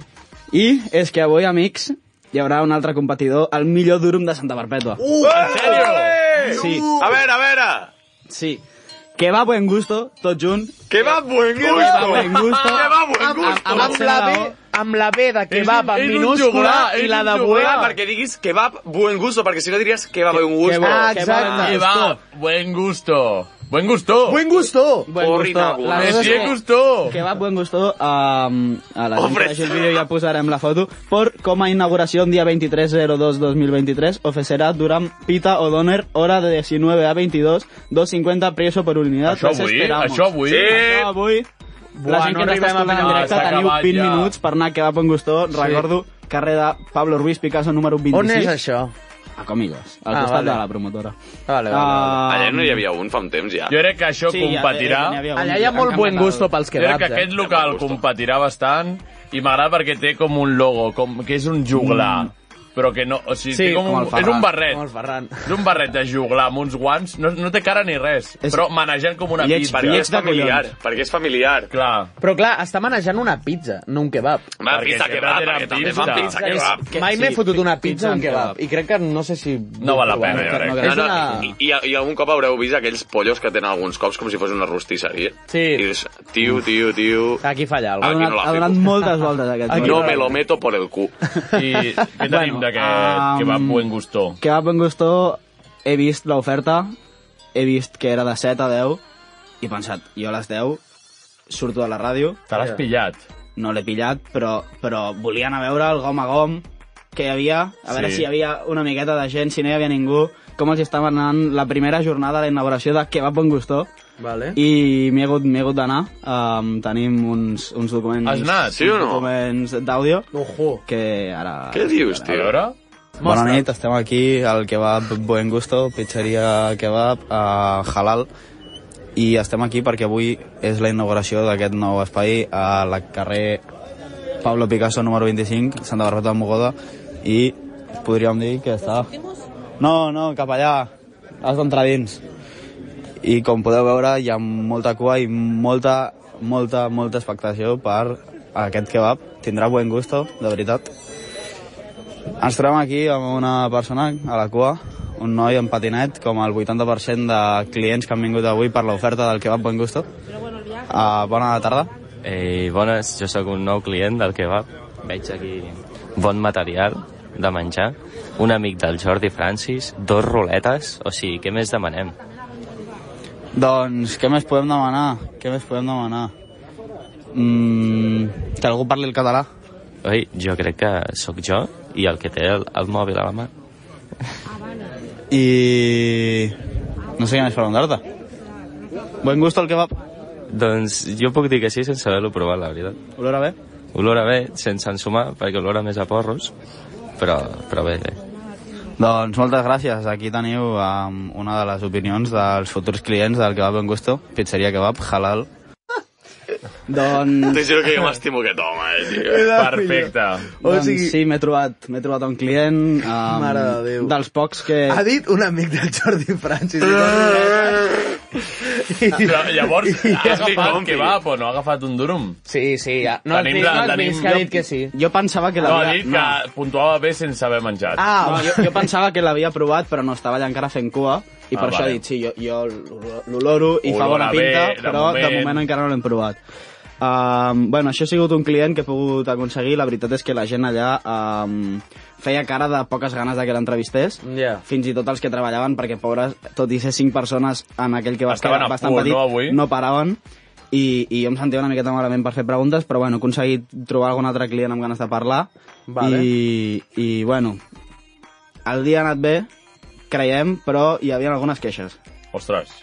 [SPEAKER 8] I és que avui, amics, hi haurà un altre competidor, el millor Durum de Santa Perpètua.
[SPEAKER 7] Uh, en sèrio?
[SPEAKER 8] Sí.
[SPEAKER 7] A veure, a veure.
[SPEAKER 8] Sí. Que va buen gusto, tot junt.
[SPEAKER 7] Que va buen
[SPEAKER 8] Que va
[SPEAKER 7] gusto.
[SPEAKER 8] buen gusto.
[SPEAKER 7] Que va buen
[SPEAKER 8] Amb-
[SPEAKER 7] gusto.
[SPEAKER 8] amb- amb la B-
[SPEAKER 18] amb la B de
[SPEAKER 8] kebab en minúscula i la de
[SPEAKER 7] buena.
[SPEAKER 8] buena.
[SPEAKER 7] Ah, Perquè diguis que va buen gusto, perquè si no diries que va buen gusto. Ah,
[SPEAKER 3] Que va, buen gusto. Buen gusto.
[SPEAKER 18] Buen gusto.
[SPEAKER 8] Buen gusto. La cosa és que- Que va buen gusto. Um, a la gent que vegi el vídeo ja posarem la foto. Por com a inauguració el dia 23-02-2023 ofrecerà Durán Pita O'Donner hora de 19 a 22 250 preso per unidad.
[SPEAKER 3] Això
[SPEAKER 8] Les
[SPEAKER 3] avui,
[SPEAKER 8] esperamos.
[SPEAKER 3] això avui.
[SPEAKER 8] Això avui. La
[SPEAKER 3] Buah,
[SPEAKER 8] gent
[SPEAKER 3] no
[SPEAKER 8] que ens
[SPEAKER 3] arribem
[SPEAKER 8] està
[SPEAKER 3] a
[SPEAKER 8] escoltant en
[SPEAKER 3] pensar,
[SPEAKER 8] directe
[SPEAKER 3] s'ha
[SPEAKER 8] teniu
[SPEAKER 3] acabat
[SPEAKER 8] 20
[SPEAKER 3] ja.
[SPEAKER 8] minuts per anar que va buen gusto.
[SPEAKER 18] Sí.
[SPEAKER 8] Recordo, carrer de Pablo Ruiz Picasso número 26.
[SPEAKER 18] On és això?
[SPEAKER 8] A Comigos, al
[SPEAKER 18] Ah,
[SPEAKER 8] costat
[SPEAKER 18] vale.
[SPEAKER 8] de la promotora. Ah,
[SPEAKER 18] Vale,
[SPEAKER 7] Allà no hi havia un fa un temps, ja.
[SPEAKER 3] Jo crec que això
[SPEAKER 7] Sí, ja,
[SPEAKER 3] competirà...
[SPEAKER 7] ja, ja n'hi havia un. Allà hi ha molt Han buen canviat el- gusto pels
[SPEAKER 3] Jo crec
[SPEAKER 7] kebabs,
[SPEAKER 3] que
[SPEAKER 7] eh?
[SPEAKER 3] aquest local competirà bastant i m'agrada perquè té com un logo, com, que és un juglar. Però que no... O sigui,
[SPEAKER 18] Sí,
[SPEAKER 3] té com,
[SPEAKER 18] com el
[SPEAKER 3] un,
[SPEAKER 18] Ferran.
[SPEAKER 3] és un barret.
[SPEAKER 18] Com el Ferran.
[SPEAKER 3] És un barret de juglar amb uns guants. No, no té cara ni res, és... però manejant com una
[SPEAKER 7] Lleig-
[SPEAKER 3] pizza.
[SPEAKER 7] lleig de collons. Perquè és familiar.
[SPEAKER 3] Clar.
[SPEAKER 18] Però clar, està manejant una pizza, no un kebab.
[SPEAKER 7] Home, pizza que va, perquè també fan pizza que va.
[SPEAKER 18] Mai m'he fotut una pizza o un kebab. I crec que no sé si...
[SPEAKER 3] No val la pena, jo crec.
[SPEAKER 18] És una...
[SPEAKER 7] I, i, I algun cop haureu vist aquells pollos que tenen alguns cops com si fos una rostisseria.
[SPEAKER 18] Sí.
[SPEAKER 7] I dius, tio, tio, tio...
[SPEAKER 18] Aquí falla
[SPEAKER 8] Ha
[SPEAKER 7] Aquí
[SPEAKER 8] donat,
[SPEAKER 7] no la
[SPEAKER 8] ha donat
[SPEAKER 7] fico.
[SPEAKER 8] moltes voltes aquest.
[SPEAKER 7] No me lo meto por el cu.
[SPEAKER 3] I què tenim bueno, um, d'aquest
[SPEAKER 8] am,
[SPEAKER 3] que va amb buen gusto?
[SPEAKER 8] Que va buen gusto, he vist l'oferta, he vist que era de 7 a 10, i he pensat, jo a les 10 surto de la ràdio...
[SPEAKER 3] Te l'has pillat?
[SPEAKER 8] No l'he pillat, però, però volia anar a veure el gom a gom que hi havia, a veure
[SPEAKER 3] Sí.
[SPEAKER 8] si hi havia una miqueta de gent, si no hi havia ningú, com els estava anant la primera jornada de la inauguració de Kebab Bon Gustó,
[SPEAKER 18] Vale.
[SPEAKER 8] i m'hi he hagut, m'hi he hagut d'anar. Um, tenim uns, uns documents...
[SPEAKER 18] Has anat?
[SPEAKER 8] uns
[SPEAKER 18] Sí o no?
[SPEAKER 8] documents d'àudio
[SPEAKER 18] Ojo.
[SPEAKER 8] que ara...
[SPEAKER 7] tio?
[SPEAKER 3] A veure...
[SPEAKER 20] Bona nit, estem aquí al kebab Buen Gusto, pizzeria kebab a Halal i estem aquí perquè avui és la inauguració d'aquest nou espai a la carrer Pablo Picasso número 25, Santa Barbeta de Mogoda i podríem dir que està... No, no, cap allà, has d'entrar dins. I com podeu veure hi ha molta cua i molta, molta, molta expectació per aquest kebab. Tindrà buen gusto, de veritat. Ens trobem aquí amb una persona a la cua, un noi en patinet, com el 80% de clients que han vingut avui per l'oferta del kebab Buen Gusto.
[SPEAKER 8] Ah,
[SPEAKER 20] Uh, bona tarda.
[SPEAKER 21] Eh, bones, jo sóc un nou client del kebab. Veig aquí bon material de menjar, un amic del Jordi Francis, dos ruletes, o sigui, què més demanem?
[SPEAKER 20] Doncs què més podem demanar? Què més podem demanar? Mm, que algú parli el català.
[SPEAKER 21] Oi, jo crec que sóc jo i el que té el, el mòbil a la mà.
[SPEAKER 20] I... No sé què més preguntar-te. Buen gusto el kebab.
[SPEAKER 22] Doncs jo puc dir que sí sense haver-lo provat, la veritat.
[SPEAKER 8] Olora bé?
[SPEAKER 22] Olora bé, sense ensumar, perquè olora més a porros, però, però bé, bé.
[SPEAKER 8] Doncs moltes gràcies. Aquí teniu um, una de les opinions dels futurs clients del Kebab Ben Gusto, pizzeria Kebab, halal. doncs...
[SPEAKER 7] Te juro que jo m'estimo aquest home, eh, tio.
[SPEAKER 3] Perfecte.
[SPEAKER 8] O
[SPEAKER 23] O
[SPEAKER 8] doncs
[SPEAKER 23] sigui-
[SPEAKER 8] sigui... sí, m'he trobat, m'he trobat un client um,
[SPEAKER 23] Mare de Déu.
[SPEAKER 8] dels pocs que...
[SPEAKER 23] Ha dit un amic del Jordi Francis.
[SPEAKER 3] Ah. Però, llavors,
[SPEAKER 23] I-
[SPEAKER 3] ha agafat que va, però no ha agafat un durum.
[SPEAKER 8] Sí, sí, ja.
[SPEAKER 3] No has Tenim vist- la- no has tenim- vist que ha dit
[SPEAKER 8] que sí. Jo pensava que
[SPEAKER 3] No, ha
[SPEAKER 8] l'havia...
[SPEAKER 3] dit que puntuava bé sense haver menjat.
[SPEAKER 8] Ah, no, jo, jo pensava que l'havia provat, però no estava allà encara fent cua, i
[SPEAKER 3] Ah,
[SPEAKER 8] per això
[SPEAKER 3] vale.
[SPEAKER 8] he dit, sí, jo, jo l'oloro i
[SPEAKER 3] Olora
[SPEAKER 8] fa bona
[SPEAKER 3] bé,
[SPEAKER 8] pinta,
[SPEAKER 3] de
[SPEAKER 8] però de
[SPEAKER 3] moment.
[SPEAKER 8] moment encara no l'hem provat. Um, bueno, això ha sigut un client que he pogut aconseguir, la veritat és que la gent allà um, feia cara de poques ganes de que l'entrevistés,
[SPEAKER 23] yeah.
[SPEAKER 8] fins i tot els que treballaven, perquè pobres, tot i ser cinc persones en aquell que va
[SPEAKER 3] Estaven a
[SPEAKER 8] estar bastant
[SPEAKER 3] punt,
[SPEAKER 8] petit,
[SPEAKER 3] no, avui?
[SPEAKER 8] no paraven, i, i jo em sentia una miqueta malament per fer preguntes, però bueno, he aconseguit trobar algun altre client amb ganes de parlar,
[SPEAKER 23] Vale.
[SPEAKER 8] i, i bueno, el dia ha anat bé, creiem, però hi havia algunes queixes.
[SPEAKER 3] Ostres.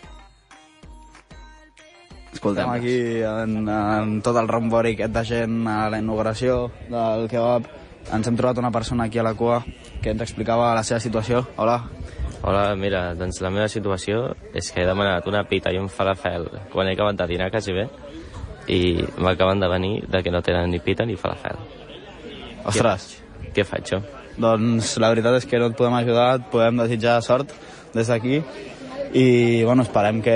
[SPEAKER 8] Escoltem.
[SPEAKER 24] Estem aquí en, en tot el rambori aquest de gent a la inauguració del kebab. Ens hem trobat una persona aquí a la cua que ens explicava la seva situació. Hola.
[SPEAKER 22] Hola, mira, doncs la meva situació és que he demanat una pita i un falafel quan he acabat de dinar quasi bé i m'acaben de venir de que no tenen ni pita ni falafel.
[SPEAKER 24] Ostres.
[SPEAKER 22] Què, què faig jo?
[SPEAKER 24] Doncs la veritat és que no et podem ajudar, et podem desitjar sort des d'aquí i bueno, esperem que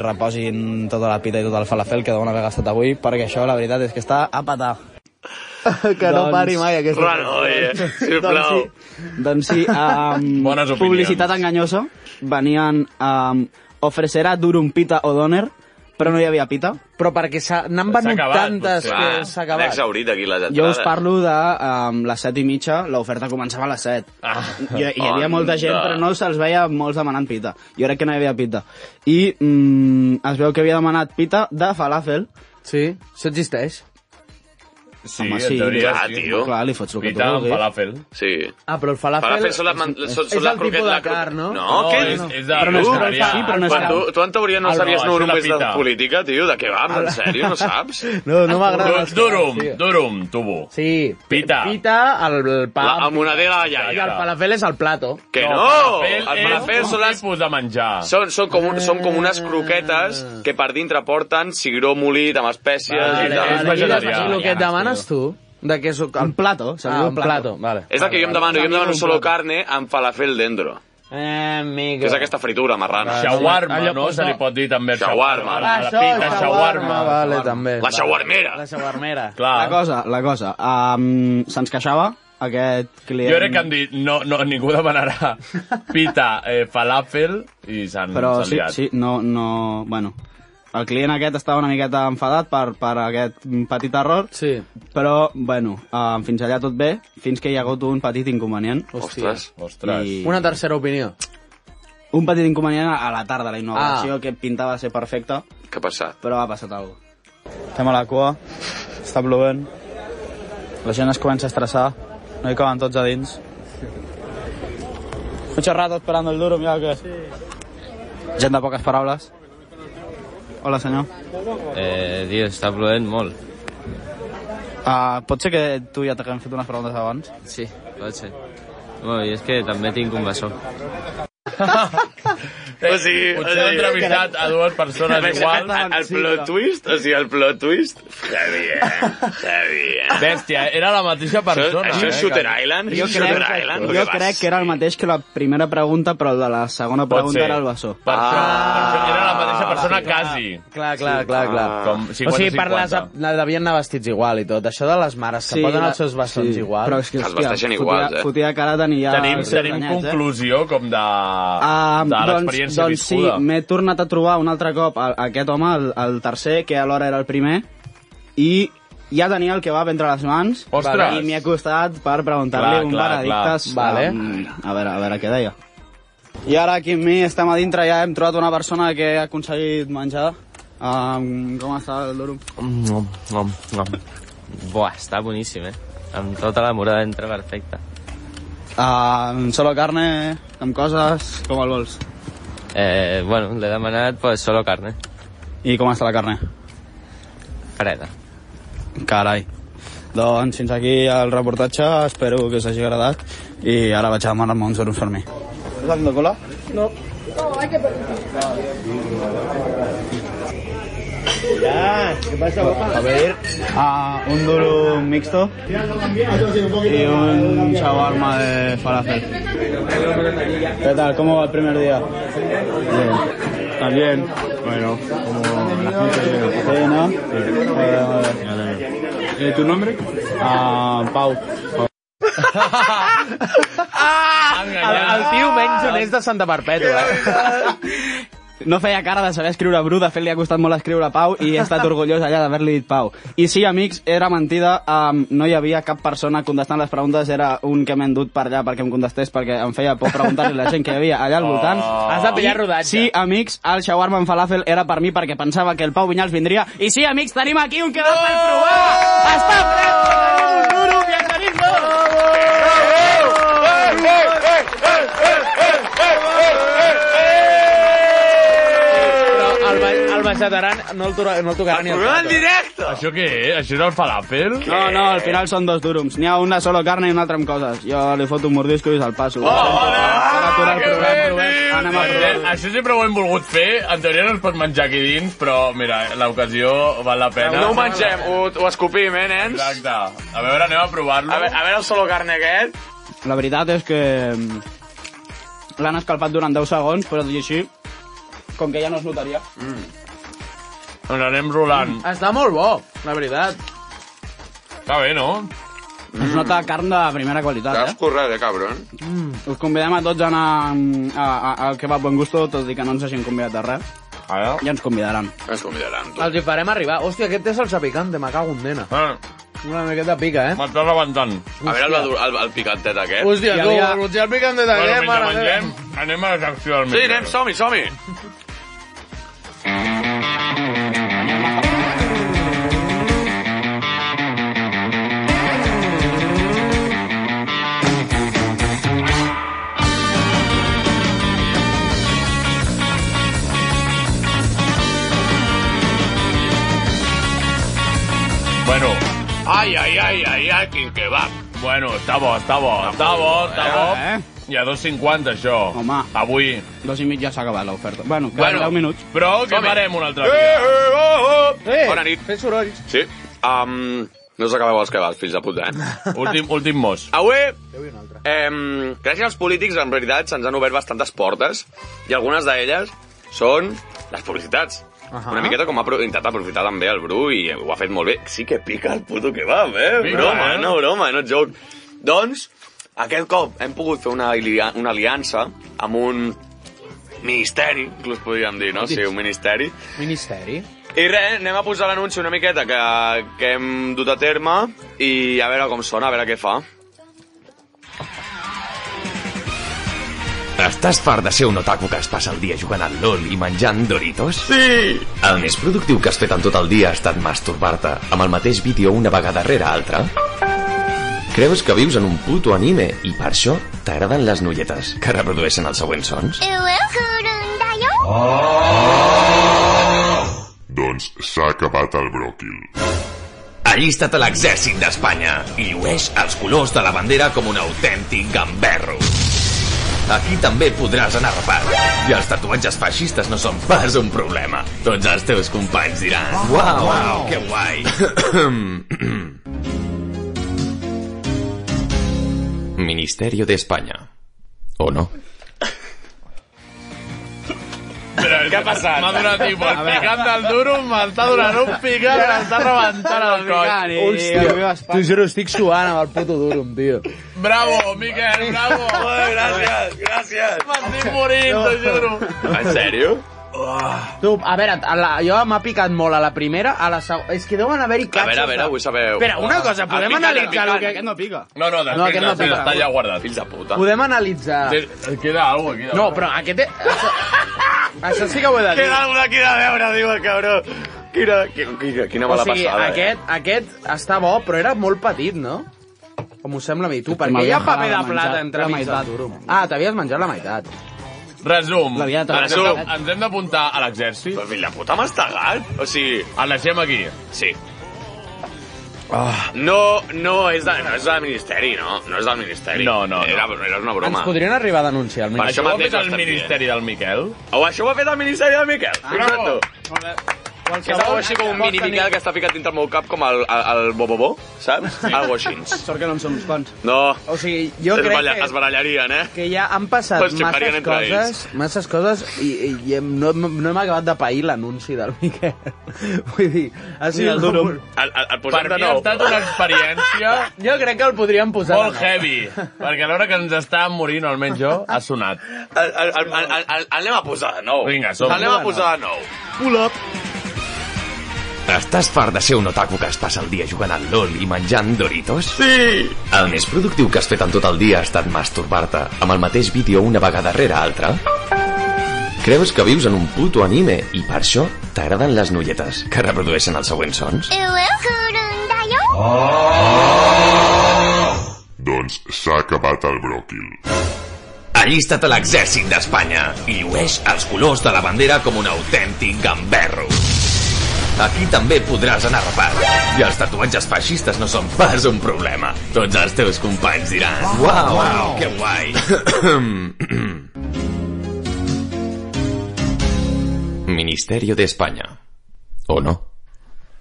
[SPEAKER 24] reposin tota la pita i tot el falafel que deuen haver gastat avui perquè això la veritat és que està a patar. Doncs
[SPEAKER 23] que no pari mai aquesta...
[SPEAKER 24] sisplau.
[SPEAKER 8] Doncs sí, um,
[SPEAKER 3] Bones opinions.
[SPEAKER 8] publicitat enganyosa. Venien um, ofrecerà durum pita o doner, però no hi havia pita.
[SPEAKER 23] Però perquè n'han
[SPEAKER 7] S'ha venut acabat, doncs,
[SPEAKER 8] tantes
[SPEAKER 7] potser. que s'ha acabat. L'he exhaurit, aquí, les
[SPEAKER 8] Jo
[SPEAKER 7] entrades.
[SPEAKER 8] us parlo de um, les set i mitja, l'oferta començava a les set. Ah, hi, hi havia molta gent,
[SPEAKER 7] Onda.
[SPEAKER 8] però no se'ls veia molts demanant pita. Jo crec que no hi havia pita. I mm, es veu que havia demanat pita de falafel.
[SPEAKER 23] Sí, això existeix.
[SPEAKER 8] Sí,
[SPEAKER 7] en teoria, sí.
[SPEAKER 8] Clar, li fots el que tu
[SPEAKER 3] Pita amb
[SPEAKER 8] vulguis.
[SPEAKER 3] falafel.
[SPEAKER 7] Sí.
[SPEAKER 23] Ah, però el falafel...
[SPEAKER 7] Falafel són les man- són- són
[SPEAKER 23] és
[SPEAKER 7] la
[SPEAKER 23] el tipus
[SPEAKER 7] croqueta-
[SPEAKER 23] de
[SPEAKER 7] la cro-
[SPEAKER 23] carn, no?
[SPEAKER 7] No, No, què és- dius? és de- Però no és
[SPEAKER 23] fa-
[SPEAKER 7] carn, sí, però no és Quan carn. tu- tu en teoria no sabies
[SPEAKER 3] això
[SPEAKER 7] només
[SPEAKER 3] és la pita.
[SPEAKER 7] de política, tio, de què va, en sèrio, no saps?
[SPEAKER 23] No, no m'agrada.
[SPEAKER 3] Durum, durum, durum, tubo.
[SPEAKER 23] Sí.
[SPEAKER 3] Pita.
[SPEAKER 23] Pita, el, el pa...
[SPEAKER 3] La- amb una de la iaia.
[SPEAKER 23] I el falafel és el plato.
[SPEAKER 7] Que no!
[SPEAKER 3] El
[SPEAKER 7] El
[SPEAKER 3] falafel
[SPEAKER 7] falafel
[SPEAKER 3] és un tipus Ah. de menjar.
[SPEAKER 7] Són, són, com un, són com unes croquetes que per dintre porten cigró molit amb espècies...
[SPEAKER 23] Vale,
[SPEAKER 7] i tal.
[SPEAKER 23] vale, I el que et demanes tu, de què és... El plato,
[SPEAKER 8] se
[SPEAKER 23] ah,
[SPEAKER 8] diu
[SPEAKER 23] un
[SPEAKER 8] plato.
[SPEAKER 23] plato, vale.
[SPEAKER 7] És el que jo em demano, jo em demano solo carne amb falafel dentro.
[SPEAKER 23] Eh, amigo.
[SPEAKER 7] Que és aquesta fritura marrana.
[SPEAKER 3] Shawarma, no? Se li pot dir també
[SPEAKER 7] Shawarma.
[SPEAKER 8] Ah,
[SPEAKER 3] A la pita, shawarma.
[SPEAKER 23] Vale, també.
[SPEAKER 7] La shawarmera.
[SPEAKER 23] La shawarmera.
[SPEAKER 8] La cosa, la cosa. Um, Se'ns queixava aquest client.
[SPEAKER 3] Jo crec que han dit, no, no, ningú demanarà pita, eh, falafel, i s'han
[SPEAKER 8] Però
[SPEAKER 3] s'han
[SPEAKER 8] sí,
[SPEAKER 3] liat.
[SPEAKER 8] sí, no, no... Bueno, el client aquest estava una miqueta enfadat per, per aquest petit error,
[SPEAKER 23] sí.
[SPEAKER 8] però, bueno, um, fins allà tot bé, fins que hi ha hagut un petit inconvenient.
[SPEAKER 23] Ostres.
[SPEAKER 3] Ostres.
[SPEAKER 8] I...
[SPEAKER 23] Una tercera opinió.
[SPEAKER 8] Un petit inconvenient a la tarda, la inauguració,
[SPEAKER 23] Ah.
[SPEAKER 8] ah. que pintava ser perfecta,
[SPEAKER 7] Què ha passat?
[SPEAKER 8] però ha passat alguna cosa.
[SPEAKER 24] Estem a la cua, està plovent, la gent es comença a estressar, no hi caben tots a dins. Mucho rato esperando el duro, mira que... Gent de poques paraules. Hola, senyor.
[SPEAKER 22] Eh, tio, està plovent molt.
[SPEAKER 24] Uh, pot ser que tu ja t'hem fet unes preguntes abans?
[SPEAKER 22] Sí, pot ser. Bueno, i és que també tinc un bessó.
[SPEAKER 7] O sigui,
[SPEAKER 3] Eh, Potser han entrevistat a dues persones iguals.
[SPEAKER 7] El, el plot twist, o sigui, el plot twist, heavy, eh? Heavy, eh?
[SPEAKER 3] Bèstia, era la mateixa persona.
[SPEAKER 7] Això, això és
[SPEAKER 3] eh,
[SPEAKER 7] Shooter
[SPEAKER 3] que-
[SPEAKER 7] Island? Això
[SPEAKER 8] Jo
[SPEAKER 7] és
[SPEAKER 8] crec,
[SPEAKER 7] Shooter Island?
[SPEAKER 8] jo crec que era el mateix que la primera pregunta, però el de la segona
[SPEAKER 3] Pot
[SPEAKER 8] pregunta
[SPEAKER 3] ser.
[SPEAKER 8] era el bessó.
[SPEAKER 3] Per això, per això era la
[SPEAKER 7] Ah,
[SPEAKER 3] mateixa persona quasi.
[SPEAKER 23] Clar, clar, clar,
[SPEAKER 22] Ah.
[SPEAKER 23] clar.
[SPEAKER 3] Com
[SPEAKER 23] o sigui, per les,
[SPEAKER 3] 50-50.
[SPEAKER 23] la devien anar vestits igual i tot. Això de les mares que posen
[SPEAKER 8] la-
[SPEAKER 23] els seus bessons
[SPEAKER 8] sí,
[SPEAKER 23] igual.
[SPEAKER 8] Però és que, hòstia, fotia, Fotia cara tenir ja...
[SPEAKER 3] Tenim,
[SPEAKER 8] els
[SPEAKER 3] tenim
[SPEAKER 8] enganyats, eh?
[SPEAKER 3] conclusió com de,
[SPEAKER 8] Ah,
[SPEAKER 3] de
[SPEAKER 8] doncs,
[SPEAKER 3] l'experiència
[SPEAKER 8] doncs sí,
[SPEAKER 3] viscuda.
[SPEAKER 8] m'he tornat a trobar un altre cop a, a aquest home, el, el tercer, que alhora era el primer, i ja tenia el que va entre les mans
[SPEAKER 3] Ostres!
[SPEAKER 8] i m'hi ha costat per preguntar-li
[SPEAKER 24] Clar,
[SPEAKER 8] un
[SPEAKER 24] clar,
[SPEAKER 8] veredictes
[SPEAKER 24] clar. Vale.
[SPEAKER 8] um, a, veure, a veure què deia i ara aquí amb mi estem a dintre ja hem trobat una persona que ha aconseguit menjar um, com està el duro?
[SPEAKER 22] Mm, Nom, nom, nom. Buah, està boníssim, eh? Amb tota la morada entra perfecta.
[SPEAKER 8] Uh, solo carne amb coses, com el vols
[SPEAKER 22] Eh, bueno, l'he demanat pues, solo carne.
[SPEAKER 25] I com està la carne?
[SPEAKER 26] Freda.
[SPEAKER 25] Carai. Doncs fins aquí el reportatge, espero que us hagi agradat i ara vaig a demanar-me uns euros per mi. ¿Estás haciendo cola?
[SPEAKER 5] No.
[SPEAKER 25] ¿Qué pasa, A ver, ah, un duro mixto y un shawarma de falafel. ¿Qué tal? ¿Cómo va el primer día? Bien. ¿También? Bueno, como la gente Sí, ¿no? ¿Y tu nombre? Ah, Pau.
[SPEAKER 8] El,
[SPEAKER 3] Ah.
[SPEAKER 8] el tio menys honest de Santa Perpètua.
[SPEAKER 9] No feia cara de saber escriure Bru, de fet li ha costat molt escriure Pau i he estat orgullós allà d'haver-li dit Pau. I sí, amics, era mentida, um, no hi havia cap persona contestant les preguntes, era un que m'he endut per allà perquè em contestés, perquè em feia por preguntar-li a la gent que hi havia allà al voltant.
[SPEAKER 27] Oh. Has de pillar
[SPEAKER 9] I
[SPEAKER 27] rodatge.
[SPEAKER 9] Sí, amics, el shawarma amb falafel era per mi perquè pensava que el Pau Vinyals vindria. I sí, amics, tenim aquí un que va per provar!
[SPEAKER 27] Oh!
[SPEAKER 9] Està ple! tenim un duro, que en tenim dos!
[SPEAKER 27] Però el, ba- el Baixataran no el, tura, no el tocarà ni el
[SPEAKER 9] programa
[SPEAKER 27] Tato.
[SPEAKER 9] en directe!
[SPEAKER 3] Això què és? Això era el falafel?
[SPEAKER 9] No, no, al final són dos durums. N'hi ha una solo carne i una altra amb coses. Jo li foto un mordisco i se'l passo.
[SPEAKER 3] Ah, Anem Això sempre ho hem volgut fer, en teoria no es pot menjar aquí dins, però mira, l'ocasió val la pena.
[SPEAKER 7] No ho mengem, ho, ho escopim, eh, nens?
[SPEAKER 3] Exacte. A veure, anem a provar-lo.
[SPEAKER 7] A, ve- a veure el solo carne aquest.
[SPEAKER 9] La veritat és que mm, l'han escalpat durant 10 segons, però tot i així, com que ja no es notaria. Mm.
[SPEAKER 3] Doncs anem rolant.
[SPEAKER 8] Està molt bo, la veritat.
[SPEAKER 3] Està bé, no?
[SPEAKER 9] Es nota carn de primera qualitat, eh?
[SPEAKER 7] currat, eh, cabron?
[SPEAKER 9] Us convidem a tots a anar mm, a, a, al Kebab Buen Gusto, tot i que no ens hagin convidat a res.
[SPEAKER 3] Ara?
[SPEAKER 9] Ja ens convidaran.
[SPEAKER 7] Ens convidaran.
[SPEAKER 8] Els hi farem arribar. Hòstia, aquest té salsa picante, me cago en nena.
[SPEAKER 3] Ah.
[SPEAKER 8] Una miqueta pica, eh?
[SPEAKER 3] M'estàs rebentant.
[SPEAKER 7] A veure el, el, el, el picantet aquest.
[SPEAKER 8] Hòstia, tu, potser el picante de
[SPEAKER 3] Bueno,
[SPEAKER 8] què,
[SPEAKER 3] mentre
[SPEAKER 8] mare meva.
[SPEAKER 3] mengem, anem a la secció del
[SPEAKER 7] Sí,
[SPEAKER 3] micro.
[SPEAKER 7] anem, som-hi, som-hi.
[SPEAKER 3] Bueno,
[SPEAKER 7] Ai, ai, ai, ai, ai, quin kebab.
[SPEAKER 3] bueno, està bo, està bo, està bo, està bo.
[SPEAKER 9] Eh?
[SPEAKER 3] I a 2.50, això. Home. Avui.
[SPEAKER 9] Dos i mig ja s'ha acabat l'oferta. Bueno, queden 10 minuts.
[SPEAKER 3] Però què
[SPEAKER 9] Som-hi.
[SPEAKER 3] farem un altre
[SPEAKER 9] Eh,
[SPEAKER 3] dia?
[SPEAKER 7] eh, oh, oh.
[SPEAKER 8] Eh,
[SPEAKER 7] Bona nit.
[SPEAKER 8] Fes sorolls.
[SPEAKER 7] Sí. Um, no us acabeu els kebabs, fills de puta, eh?
[SPEAKER 3] Últim, últim mos.
[SPEAKER 7] Avui, eh, gràcies als polítics, en veritat, se'ns han obert bastantes portes i algunes d'elles són les publicitats.
[SPEAKER 28] Ahà.
[SPEAKER 7] Una miqueta com ha apro- intentat aprofitar també el Bru i ho ha fet molt bé. Sí que pica el puto que va, eh?
[SPEAKER 28] Pica,
[SPEAKER 7] broma,
[SPEAKER 28] eh?
[SPEAKER 7] no broma, no joke. Doncs, aquest cop hem pogut fer una, alia- una aliança amb un ministeri, inclús podríem dir, no? Sí, un ministeri.
[SPEAKER 8] Ministeri.
[SPEAKER 7] I res, anem a posar l'anunci una miqueta que, que hem dut a terme i a veure com sona, a veure què fa.
[SPEAKER 22] Estàs fart de ser un otaku que es passa el dia jugant al LOL i menjant Doritos?
[SPEAKER 7] Sí!
[SPEAKER 22] El més productiu que has fet en tot el dia ha estat masturbar-te amb el mateix vídeo una vegada rere altra? Creus que vius en un puto anime i per això t'agraden les nulletes que reprodueixen els següents sons?
[SPEAKER 29] Doncs s'ha acabat el bròquil.
[SPEAKER 22] Allista't a l'exèrcit d'Espanya i llueix els colors de la bandera com un autèntic gamberro. Aquí també podràs anar rapat. I els tatuatges feixistes no són pas un problema. Tots els teus companys diran... Uau, uau, que guai! Ministerio de España. ¿O no?
[SPEAKER 3] Però, Què ha passat? M'ha donat tipus, el picant del duro m'està donant un picant que m'està rebentant el coll.
[SPEAKER 8] eh. Hòstia, t'ho juro, estic suant amb el puto durum, tio.
[SPEAKER 3] Bravo, Miquel, bravo.
[SPEAKER 7] gràcies, gràcies.
[SPEAKER 3] M'estic morint, t'ho juro.
[SPEAKER 7] En sèrio?
[SPEAKER 8] Tu, a veure, a la, jo m'ha picat molt a la primera, a la segona... És que deuen haver-hi
[SPEAKER 7] A
[SPEAKER 8] catxos...
[SPEAKER 7] veure, a veure, vull saber...
[SPEAKER 8] Espera,
[SPEAKER 22] Ah,
[SPEAKER 8] una cosa, podem analitzar el que-
[SPEAKER 9] Aquest no pica.
[SPEAKER 3] No, no,
[SPEAKER 8] No,
[SPEAKER 3] després,
[SPEAKER 8] aquest no
[SPEAKER 3] després
[SPEAKER 8] pica.
[SPEAKER 3] està ja guardat. eh,
[SPEAKER 7] Fills de
[SPEAKER 22] ah.
[SPEAKER 7] puta.
[SPEAKER 8] Podem analitzar...
[SPEAKER 3] Queda alguna cosa, queda
[SPEAKER 8] No, però aquest... e- Això, això sí que ho he de dir.
[SPEAKER 7] Queda alguna aquí de veure, diu el cabró. Quina, quina, quina, quina mala
[SPEAKER 8] o sigui,
[SPEAKER 7] passada. eh?
[SPEAKER 8] aquest, aquest està bo, però era molt petit, no? Com ho sembla a mi, tu, perquè
[SPEAKER 7] m'havia
[SPEAKER 8] hi ha paper
[SPEAKER 7] acabat
[SPEAKER 8] de
[SPEAKER 7] de menjar
[SPEAKER 8] plata entre
[SPEAKER 7] la
[SPEAKER 8] mig
[SPEAKER 7] meitat.
[SPEAKER 8] del durum. Ah, t'havies menjat la meitat.
[SPEAKER 3] Resum.
[SPEAKER 9] La vida de
[SPEAKER 3] Ens,
[SPEAKER 9] Resum.
[SPEAKER 3] hem de- ens hem d'apuntar a l'exèrcit. Però
[SPEAKER 7] fill de puta, m'has tagat? O sigui...
[SPEAKER 3] El deixem aquí.
[SPEAKER 7] Sí. Ah. No, no és, de, no és del Ministeri, no? No és del Ministeri. No, no, no. Era, era una broma.
[SPEAKER 8] Ens podrien arribar a denunciar.
[SPEAKER 7] Per això
[SPEAKER 3] això ho ha
[SPEAKER 7] mateix
[SPEAKER 3] fet
[SPEAKER 7] ho
[SPEAKER 3] el
[SPEAKER 7] estem
[SPEAKER 3] Ministeri del Miquel.
[SPEAKER 7] O això ho ha fet el Ministeri del Miquel.
[SPEAKER 8] Ah,
[SPEAKER 7] Fixa't tu. Que és algo així com un mini Miquel que està ficat dintre el meu cap com el, el, el Bobobo, saps? Algo així.
[SPEAKER 9] Sort que no en som uns quants.
[SPEAKER 7] No.
[SPEAKER 8] O sigui, jo
[SPEAKER 7] es
[SPEAKER 8] crec
[SPEAKER 7] balla,
[SPEAKER 8] que-
[SPEAKER 7] Es barallarien, eh?
[SPEAKER 8] Que ja han passat
[SPEAKER 7] Pues
[SPEAKER 8] pues
[SPEAKER 7] xocarien
[SPEAKER 8] masses
[SPEAKER 7] entre
[SPEAKER 8] coses,
[SPEAKER 7] ells.
[SPEAKER 8] masses coses i, i, i hem- no, hem- no hem acabat de pair l'anunci del Miquel. Vull dir, ha sigut...
[SPEAKER 3] Ni el
[SPEAKER 8] una-
[SPEAKER 3] duro.
[SPEAKER 7] El, el, el
[SPEAKER 3] Per mi ha estat una experiència...
[SPEAKER 8] Jo crec que el podríem posar...
[SPEAKER 3] Molt heavy, perquè a l'hora que ens està morint, almenys jo, ha sonat.
[SPEAKER 7] El, el, el, el, el, el anem a posar de nou.
[SPEAKER 3] Vinga, som.
[SPEAKER 7] Anem a posar de nou.
[SPEAKER 8] Pull up.
[SPEAKER 22] Estàs fart de ser un otaku que es passa el dia jugant al LOL i menjant Doritos?
[SPEAKER 7] Sí!
[SPEAKER 22] El més productiu que has fet en tot el dia ha estat masturbar-te amb el mateix vídeo una vegada rere altra? Creus que vius en un puto anime i per això t'agraden les nulletes que reprodueixen els següents sons?
[SPEAKER 30] 上を振るんだよ
[SPEAKER 29] Doncs s'ha acabat el bròquil.
[SPEAKER 22] Allista't a l'exèrcit d'Espanya i llueix els colors de la bandera com un autèntic gamberro. Aquí també podràs anar rapat. I els tatuatges feixistes no són pas un problema. Tots els teus companys diran... Uau, uau, que guai! Ministerio de España. ¿O no?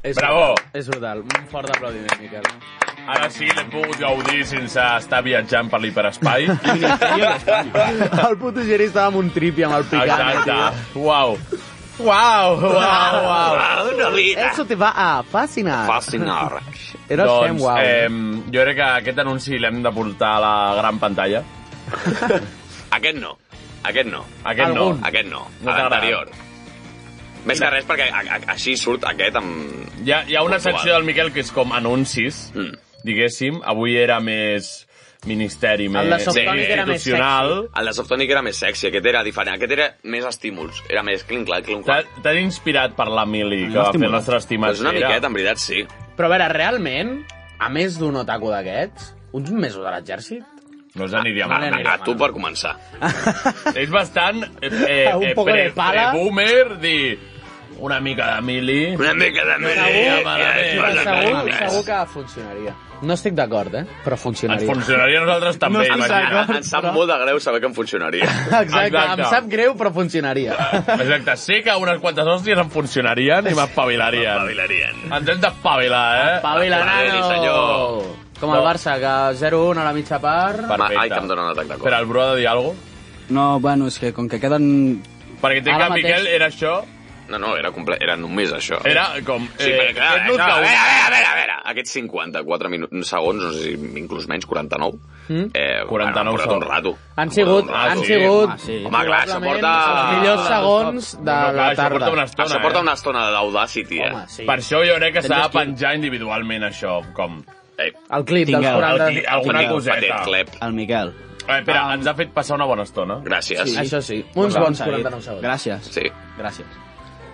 [SPEAKER 8] És
[SPEAKER 3] Bravo!
[SPEAKER 8] És brutal. Un fort aplaudiment, Miquel.
[SPEAKER 3] Ara sí, l'he pogut gaudir sense estar viatjant per l'hiperespai.
[SPEAKER 8] El puto Geri estava amb un tripi amb el picant.
[SPEAKER 3] Exacte.
[SPEAKER 8] eh,
[SPEAKER 3] Uau.
[SPEAKER 8] tio. Uau, uau,
[SPEAKER 3] Uau,
[SPEAKER 8] uau.
[SPEAKER 3] una vida.
[SPEAKER 8] Eso te va a fascinar. Era doncs, fem
[SPEAKER 3] doncs,
[SPEAKER 8] uau.
[SPEAKER 3] eh, jo crec que aquest anunci l'hem de portar a la gran pantalla.
[SPEAKER 7] Aquest no. Aquest no.
[SPEAKER 3] Aquest no. Algun.
[SPEAKER 7] Aquest no.
[SPEAKER 3] No
[SPEAKER 7] A
[SPEAKER 3] t'agrada.
[SPEAKER 7] l'anterior. Més que res perquè a, a, així surt aquest amb...
[SPEAKER 3] Hi ha, hi ha una
[SPEAKER 7] Puntual.
[SPEAKER 3] secció del Miquel que és com anuncis, mm. diguéssim. Avui era més ministeri, més institucional.
[SPEAKER 7] El de Softonic era més sexy, aquest era diferent. Aquest era més estímuls, era més clinc-clac, clinc-clac.
[SPEAKER 3] T'ha- T'han inspirat per l'Emili, que va fer el nostre estimat.
[SPEAKER 7] Doncs una miqueta, en veritat, sí.
[SPEAKER 8] Però a veure, realment, a més d'un otaku d'aquests, uns mesos a l'exèrcit,
[SPEAKER 3] No us aniria
[SPEAKER 7] a,
[SPEAKER 3] mal.
[SPEAKER 7] a, a tu per començar.
[SPEAKER 3] És bastant eh, eh,
[SPEAKER 7] Un
[SPEAKER 3] eh,
[SPEAKER 7] poco
[SPEAKER 3] pre,
[SPEAKER 7] de pala.
[SPEAKER 3] pre-boomer dir una mica de mili.
[SPEAKER 7] Una mica de mili, Segur, home, de mili.
[SPEAKER 8] Però segur, segur que funcionaria. No estic d'acord, eh? Però funcionaria.
[SPEAKER 3] Ens funcionaria a nosaltres també,
[SPEAKER 8] estic
[SPEAKER 3] imagina't.
[SPEAKER 8] d'acord,
[SPEAKER 7] Em sap molt de greu saber que em funcionaria.
[SPEAKER 8] Exacte, em sap greu, però funcionaria.
[SPEAKER 3] Exacte, sé que unes quantes hòsties em funcionarien i m'espavilarien.
[SPEAKER 7] M'espavilarien.
[SPEAKER 3] Ens hem d'espavilar, eh?
[SPEAKER 8] Espavila, nano! Com el
[SPEAKER 3] No.
[SPEAKER 8] Barça, que 0-1 a la mitja part...
[SPEAKER 7] Perfecte. Ai, que em dóna un atac de cor.
[SPEAKER 3] Espera, el Bru ha de dir alguna
[SPEAKER 9] No, bueno, és que com que queden...
[SPEAKER 3] Perquè entenc
[SPEAKER 9] Ara
[SPEAKER 3] que
[SPEAKER 9] mateix-
[SPEAKER 3] Miquel era això...
[SPEAKER 7] No, no, era, comple... era només això.
[SPEAKER 3] Era com...
[SPEAKER 7] Sí,
[SPEAKER 3] eh,
[SPEAKER 7] però clar, eh,
[SPEAKER 3] aquest
[SPEAKER 7] no,
[SPEAKER 3] nut
[SPEAKER 7] a
[SPEAKER 3] que-
[SPEAKER 7] veure, a veure, a veure, a veure, aquests 54 minuts, segons, no sé si inclús menys, 49,
[SPEAKER 8] Mm?
[SPEAKER 7] eh, 49 han portat un rato.
[SPEAKER 8] Han sigut,
[SPEAKER 7] Ah,
[SPEAKER 8] han
[SPEAKER 7] sí.
[SPEAKER 8] sigut...
[SPEAKER 7] Ah, sí. Home, clar, això porta-
[SPEAKER 8] Els millors segons
[SPEAKER 3] Ah,
[SPEAKER 8] de la tarda.
[SPEAKER 7] Això porta una estona d'Audacity, eh? Home,
[SPEAKER 3] eh? Per això jo crec que s'ha de penjar individualment això, com...
[SPEAKER 7] Eh,
[SPEAKER 8] El clip dels 40...
[SPEAKER 3] El clip, alguna coseta.
[SPEAKER 9] El Miquel.
[SPEAKER 3] Eh, espera,
[SPEAKER 9] Ah.
[SPEAKER 3] ens ha fet passar una bona estona.
[SPEAKER 7] Gràcies.
[SPEAKER 9] Sí. Això
[SPEAKER 8] sí.
[SPEAKER 7] Doncs
[SPEAKER 9] Uns bons 49 segons. Gràcies.
[SPEAKER 7] Sí.
[SPEAKER 9] Gràcies.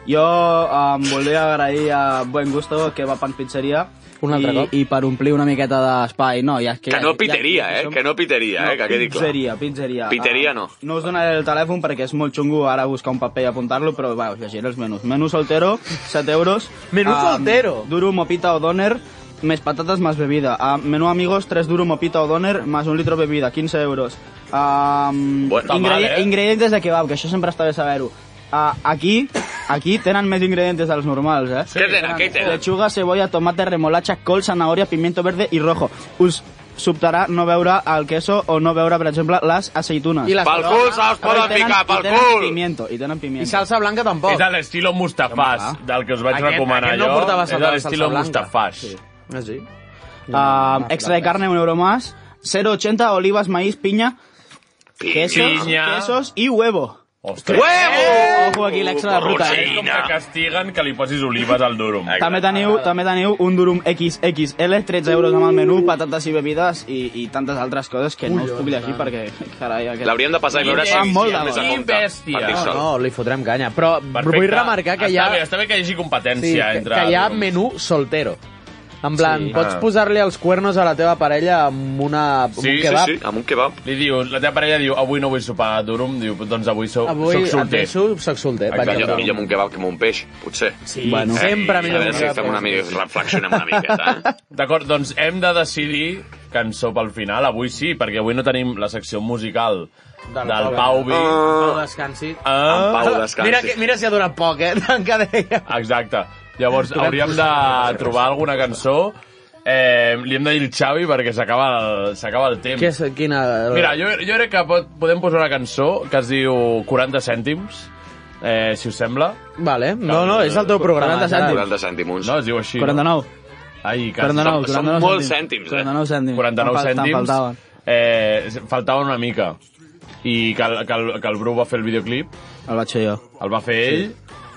[SPEAKER 9] Jo em voldria agrair a Buen Gusto que va pan pizzeria
[SPEAKER 8] Un altre
[SPEAKER 9] i,
[SPEAKER 8] cop.
[SPEAKER 9] i per omplir una miqueta d'espai. No, ja, és que,
[SPEAKER 7] Que no
[SPEAKER 9] ja-
[SPEAKER 7] piteria,
[SPEAKER 9] ja-
[SPEAKER 7] eh? Que no piteria, eh? Que quedi clar.
[SPEAKER 9] Pizzeria, pizzeria.
[SPEAKER 7] Pizzeria
[SPEAKER 9] Ah,
[SPEAKER 7] no.
[SPEAKER 9] No us donaré el telèfon perquè és molt xungo ara buscar un paper i apuntar-lo, però va, us llegiré els menús. Menú soltero, 7 euros. Ah,
[SPEAKER 8] Menú soltero?
[SPEAKER 9] Duro, mopita o doner, més patates, més bebida. Ah, menú amigos, 3 duro, mopita o doner, més un litro bebida, 15 euros. Um,
[SPEAKER 7] Bueno, està mal, eh?
[SPEAKER 9] Ingredients de kebab, que això sempre està bé saber-ho. Ah, aquí, aquí tenen més ingredients dels normals, eh?
[SPEAKER 7] Què tenen? Què tenen?
[SPEAKER 9] Lechuga, cebolla, tomate, remolacha, col, zanahoria, pimiento verde i rojo. Us sobtarà no veure el queso o no veure, per exemple, les aceitunes.
[SPEAKER 8] I les Pel cul
[SPEAKER 9] aceitunes.
[SPEAKER 8] se les poden
[SPEAKER 9] I tenen-
[SPEAKER 8] picar, pel
[SPEAKER 9] i tenen
[SPEAKER 8] cul!
[SPEAKER 9] Pimiento, I tenen pimiento.
[SPEAKER 8] I salsa blanca tampoc.
[SPEAKER 3] És a l'estilo Mustafàs, del que us vaig
[SPEAKER 9] Aquest-
[SPEAKER 3] recomanar
[SPEAKER 9] aquest no
[SPEAKER 3] jo.
[SPEAKER 9] portava
[SPEAKER 3] és
[SPEAKER 9] salsa-
[SPEAKER 3] a l'estilo
[SPEAKER 9] salsa blanca.
[SPEAKER 3] Mustafàs.
[SPEAKER 8] Ah, sí?
[SPEAKER 9] Ah, extra de carne, un euro más. 0,80, olivas, maíz, piña, quesos,
[SPEAKER 3] Piña.
[SPEAKER 9] quesos i huevo.
[SPEAKER 3] Ostres.
[SPEAKER 9] Huevo! Ojo aquí l'extra de fruta. eh.
[SPEAKER 3] És com que castiguen que li posis olives al durum.
[SPEAKER 9] També teniu, també teniu un Durum XXL, 13 euros amb el menú, patates i bebides i, i tantes altres coses que no us puc llegir perquè, carai... Aquest...
[SPEAKER 7] L'hauríem de passar i veure si-
[SPEAKER 9] Fa molt
[SPEAKER 7] si
[SPEAKER 9] de
[SPEAKER 7] hem més a
[SPEAKER 9] gust.
[SPEAKER 7] compte. Per dir
[SPEAKER 8] No,
[SPEAKER 7] sol.
[SPEAKER 8] no, li fotrem canya. Però vull remarcar
[SPEAKER 3] està
[SPEAKER 8] que hi ha...
[SPEAKER 3] Bé, està bé que hi hagi competència
[SPEAKER 8] Sí, que,
[SPEAKER 3] entre...
[SPEAKER 8] que hi ha menú soltero. En plan,
[SPEAKER 3] Sí.
[SPEAKER 8] sí. pots
[SPEAKER 3] Ah.
[SPEAKER 8] posar-li els cuernos a la teva parella amb, una, amb un kebab?
[SPEAKER 7] amb un kebab.
[SPEAKER 3] Li diu, la teva parella diu, avui no vull sopar a Durum, diu, doncs avui, sou,
[SPEAKER 8] Avui
[SPEAKER 3] soc solter.
[SPEAKER 8] et deixo, soc solter. vaig al
[SPEAKER 7] Millor,
[SPEAKER 8] Durum.
[SPEAKER 7] millor amb un kebab que amb un peix, potser.
[SPEAKER 8] Sí, Bueno.
[SPEAKER 7] Eh, A
[SPEAKER 8] sempre millor amb
[SPEAKER 7] veure
[SPEAKER 8] un
[SPEAKER 7] si
[SPEAKER 8] kebab.
[SPEAKER 7] fem una mica, reflexionem una miqueta. Eh?
[SPEAKER 3] D'acord, doncs hem de decidir cançó pel final. Avui sí, perquè avui no tenim la secció musical del, del Pau Vi.
[SPEAKER 8] Pau descansi.
[SPEAKER 3] Ah. En Pau descansi.
[SPEAKER 8] Mira, que, mira si ha donat poc, eh? Tant que deia.
[SPEAKER 3] Ah. Exacte. Llavors,
[SPEAKER 8] Trobem
[SPEAKER 3] hauríem de trobar alguna cançó. Eh, li hem de dir el Xavi perquè s'acaba el, s'acaba el temps.
[SPEAKER 8] Què és, quina...
[SPEAKER 3] Mira, jo, jo crec que pot, podem posar una cançó que es diu 40 cèntims, eh, si us sembla.
[SPEAKER 8] Vale. No, no, és el teu programa.
[SPEAKER 3] 40
[SPEAKER 8] cèntims.
[SPEAKER 7] 40 cèntims.
[SPEAKER 3] No, es diu així.
[SPEAKER 9] 49.
[SPEAKER 3] No? Ai, que
[SPEAKER 9] 49,
[SPEAKER 3] són,
[SPEAKER 9] 49
[SPEAKER 3] són
[SPEAKER 9] cèntims.
[SPEAKER 3] molts cèntims, eh?
[SPEAKER 9] 49 cèntims. Te'n
[SPEAKER 3] 49
[SPEAKER 9] fal- te'n
[SPEAKER 3] cèntims.
[SPEAKER 9] faltaven.
[SPEAKER 3] Eh, faltaven una mica. I que, el- que, el, que el Bru va fer el videoclip.
[SPEAKER 9] El vaig fer jo.
[SPEAKER 3] El va fer ell.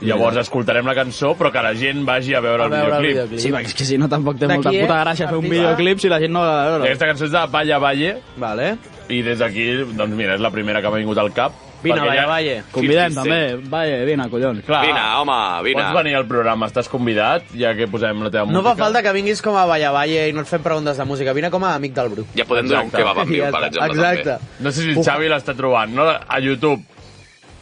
[SPEAKER 3] Sí. Llavors escoltarem la cançó, però que la gent vagi a veure, el, videoclip.
[SPEAKER 9] Sí, perquè és que si no tampoc té
[SPEAKER 3] De
[SPEAKER 9] molta
[SPEAKER 3] qui és?
[SPEAKER 9] puta gràcia fer un
[SPEAKER 3] Artista?
[SPEAKER 9] videoclip si la gent no la va
[SPEAKER 3] I
[SPEAKER 9] veure.
[SPEAKER 3] aquesta cançó és de Valle a Valle.
[SPEAKER 8] Vale.
[SPEAKER 3] I des d'aquí, doncs mira, és la primera que m'ha vingut al cap.
[SPEAKER 9] Vine,
[SPEAKER 3] Perquè
[SPEAKER 9] Valle
[SPEAKER 3] ja-
[SPEAKER 9] a Valle. Convidem també. Valle, vine, collons.
[SPEAKER 3] Clar,
[SPEAKER 7] home,
[SPEAKER 9] vine.
[SPEAKER 3] Pots venir al programa, estàs convidat, ja que posem la teva
[SPEAKER 8] No
[SPEAKER 3] música.
[SPEAKER 8] fa falta que vinguis com a Valla Valle i no et fem preguntes de música. Vine com a amic del Bru.
[SPEAKER 7] Ja podem donar un
[SPEAKER 3] Exacte.
[SPEAKER 7] kebab en viu, per exemple,
[SPEAKER 8] Exacte.
[SPEAKER 3] No sé si el Xavi l'està trobant, no? A YouTube.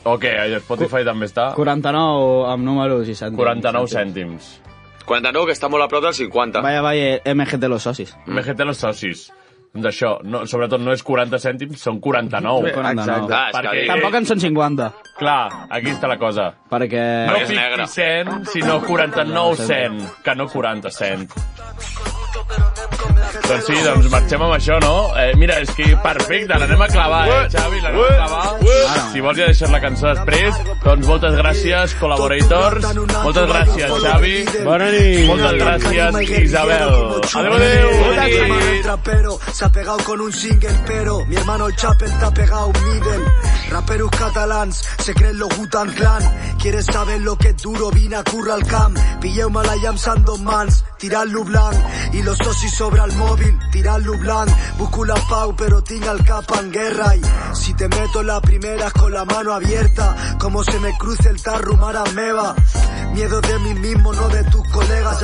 [SPEAKER 3] O què, a Spotify també està.
[SPEAKER 9] 49 amb números i cèntims.
[SPEAKER 3] 49 cèntims.
[SPEAKER 7] 49, que està molt a prop del 50.
[SPEAKER 9] Vaya, vaya, MG de los socis.
[SPEAKER 3] MGT los socis. Doncs això, no, sobretot no és 40 cèntims, són 49.
[SPEAKER 9] Sí, 49. Ah, és que
[SPEAKER 3] perquè,
[SPEAKER 9] Tampoc en són 50.
[SPEAKER 3] Clar, aquí està la cosa.
[SPEAKER 9] Perquè...
[SPEAKER 3] No 50 cent, sinó 49 cent, que no 40 cent. Doncs sí, doncs marxem amb això, no? Eh, mira, és que perfecte, l'anem a clavar, eh, Xavi, l'anem a clavar. Si vols ja deixar la cançó després, doncs moltes gràcies, collaborators, moltes gràcies, Xavi. Bona nit. Moltes gràcies, Isabel. Adéu, adéu. Bona
[SPEAKER 28] Mi hermano el
[SPEAKER 3] nit.
[SPEAKER 28] trapero se ha pegado con un single, pero mi hermano el Chapel te ha pegado un middle. Raperos catalans, se creen los Gutan Clan. Quieres saber lo que es duro, vine a curra al camp. Pillé un Malayam Sandon Mans, tirar Lublan. Y los socis sobre el móvil, tirar Lublan. Busco la pau, pero tinga el capa en guerra. Y si te meto las primeras con la mano abierta, como se me cruce el tarro, mara meva. Miedo de mí mismo, no de tus colegas.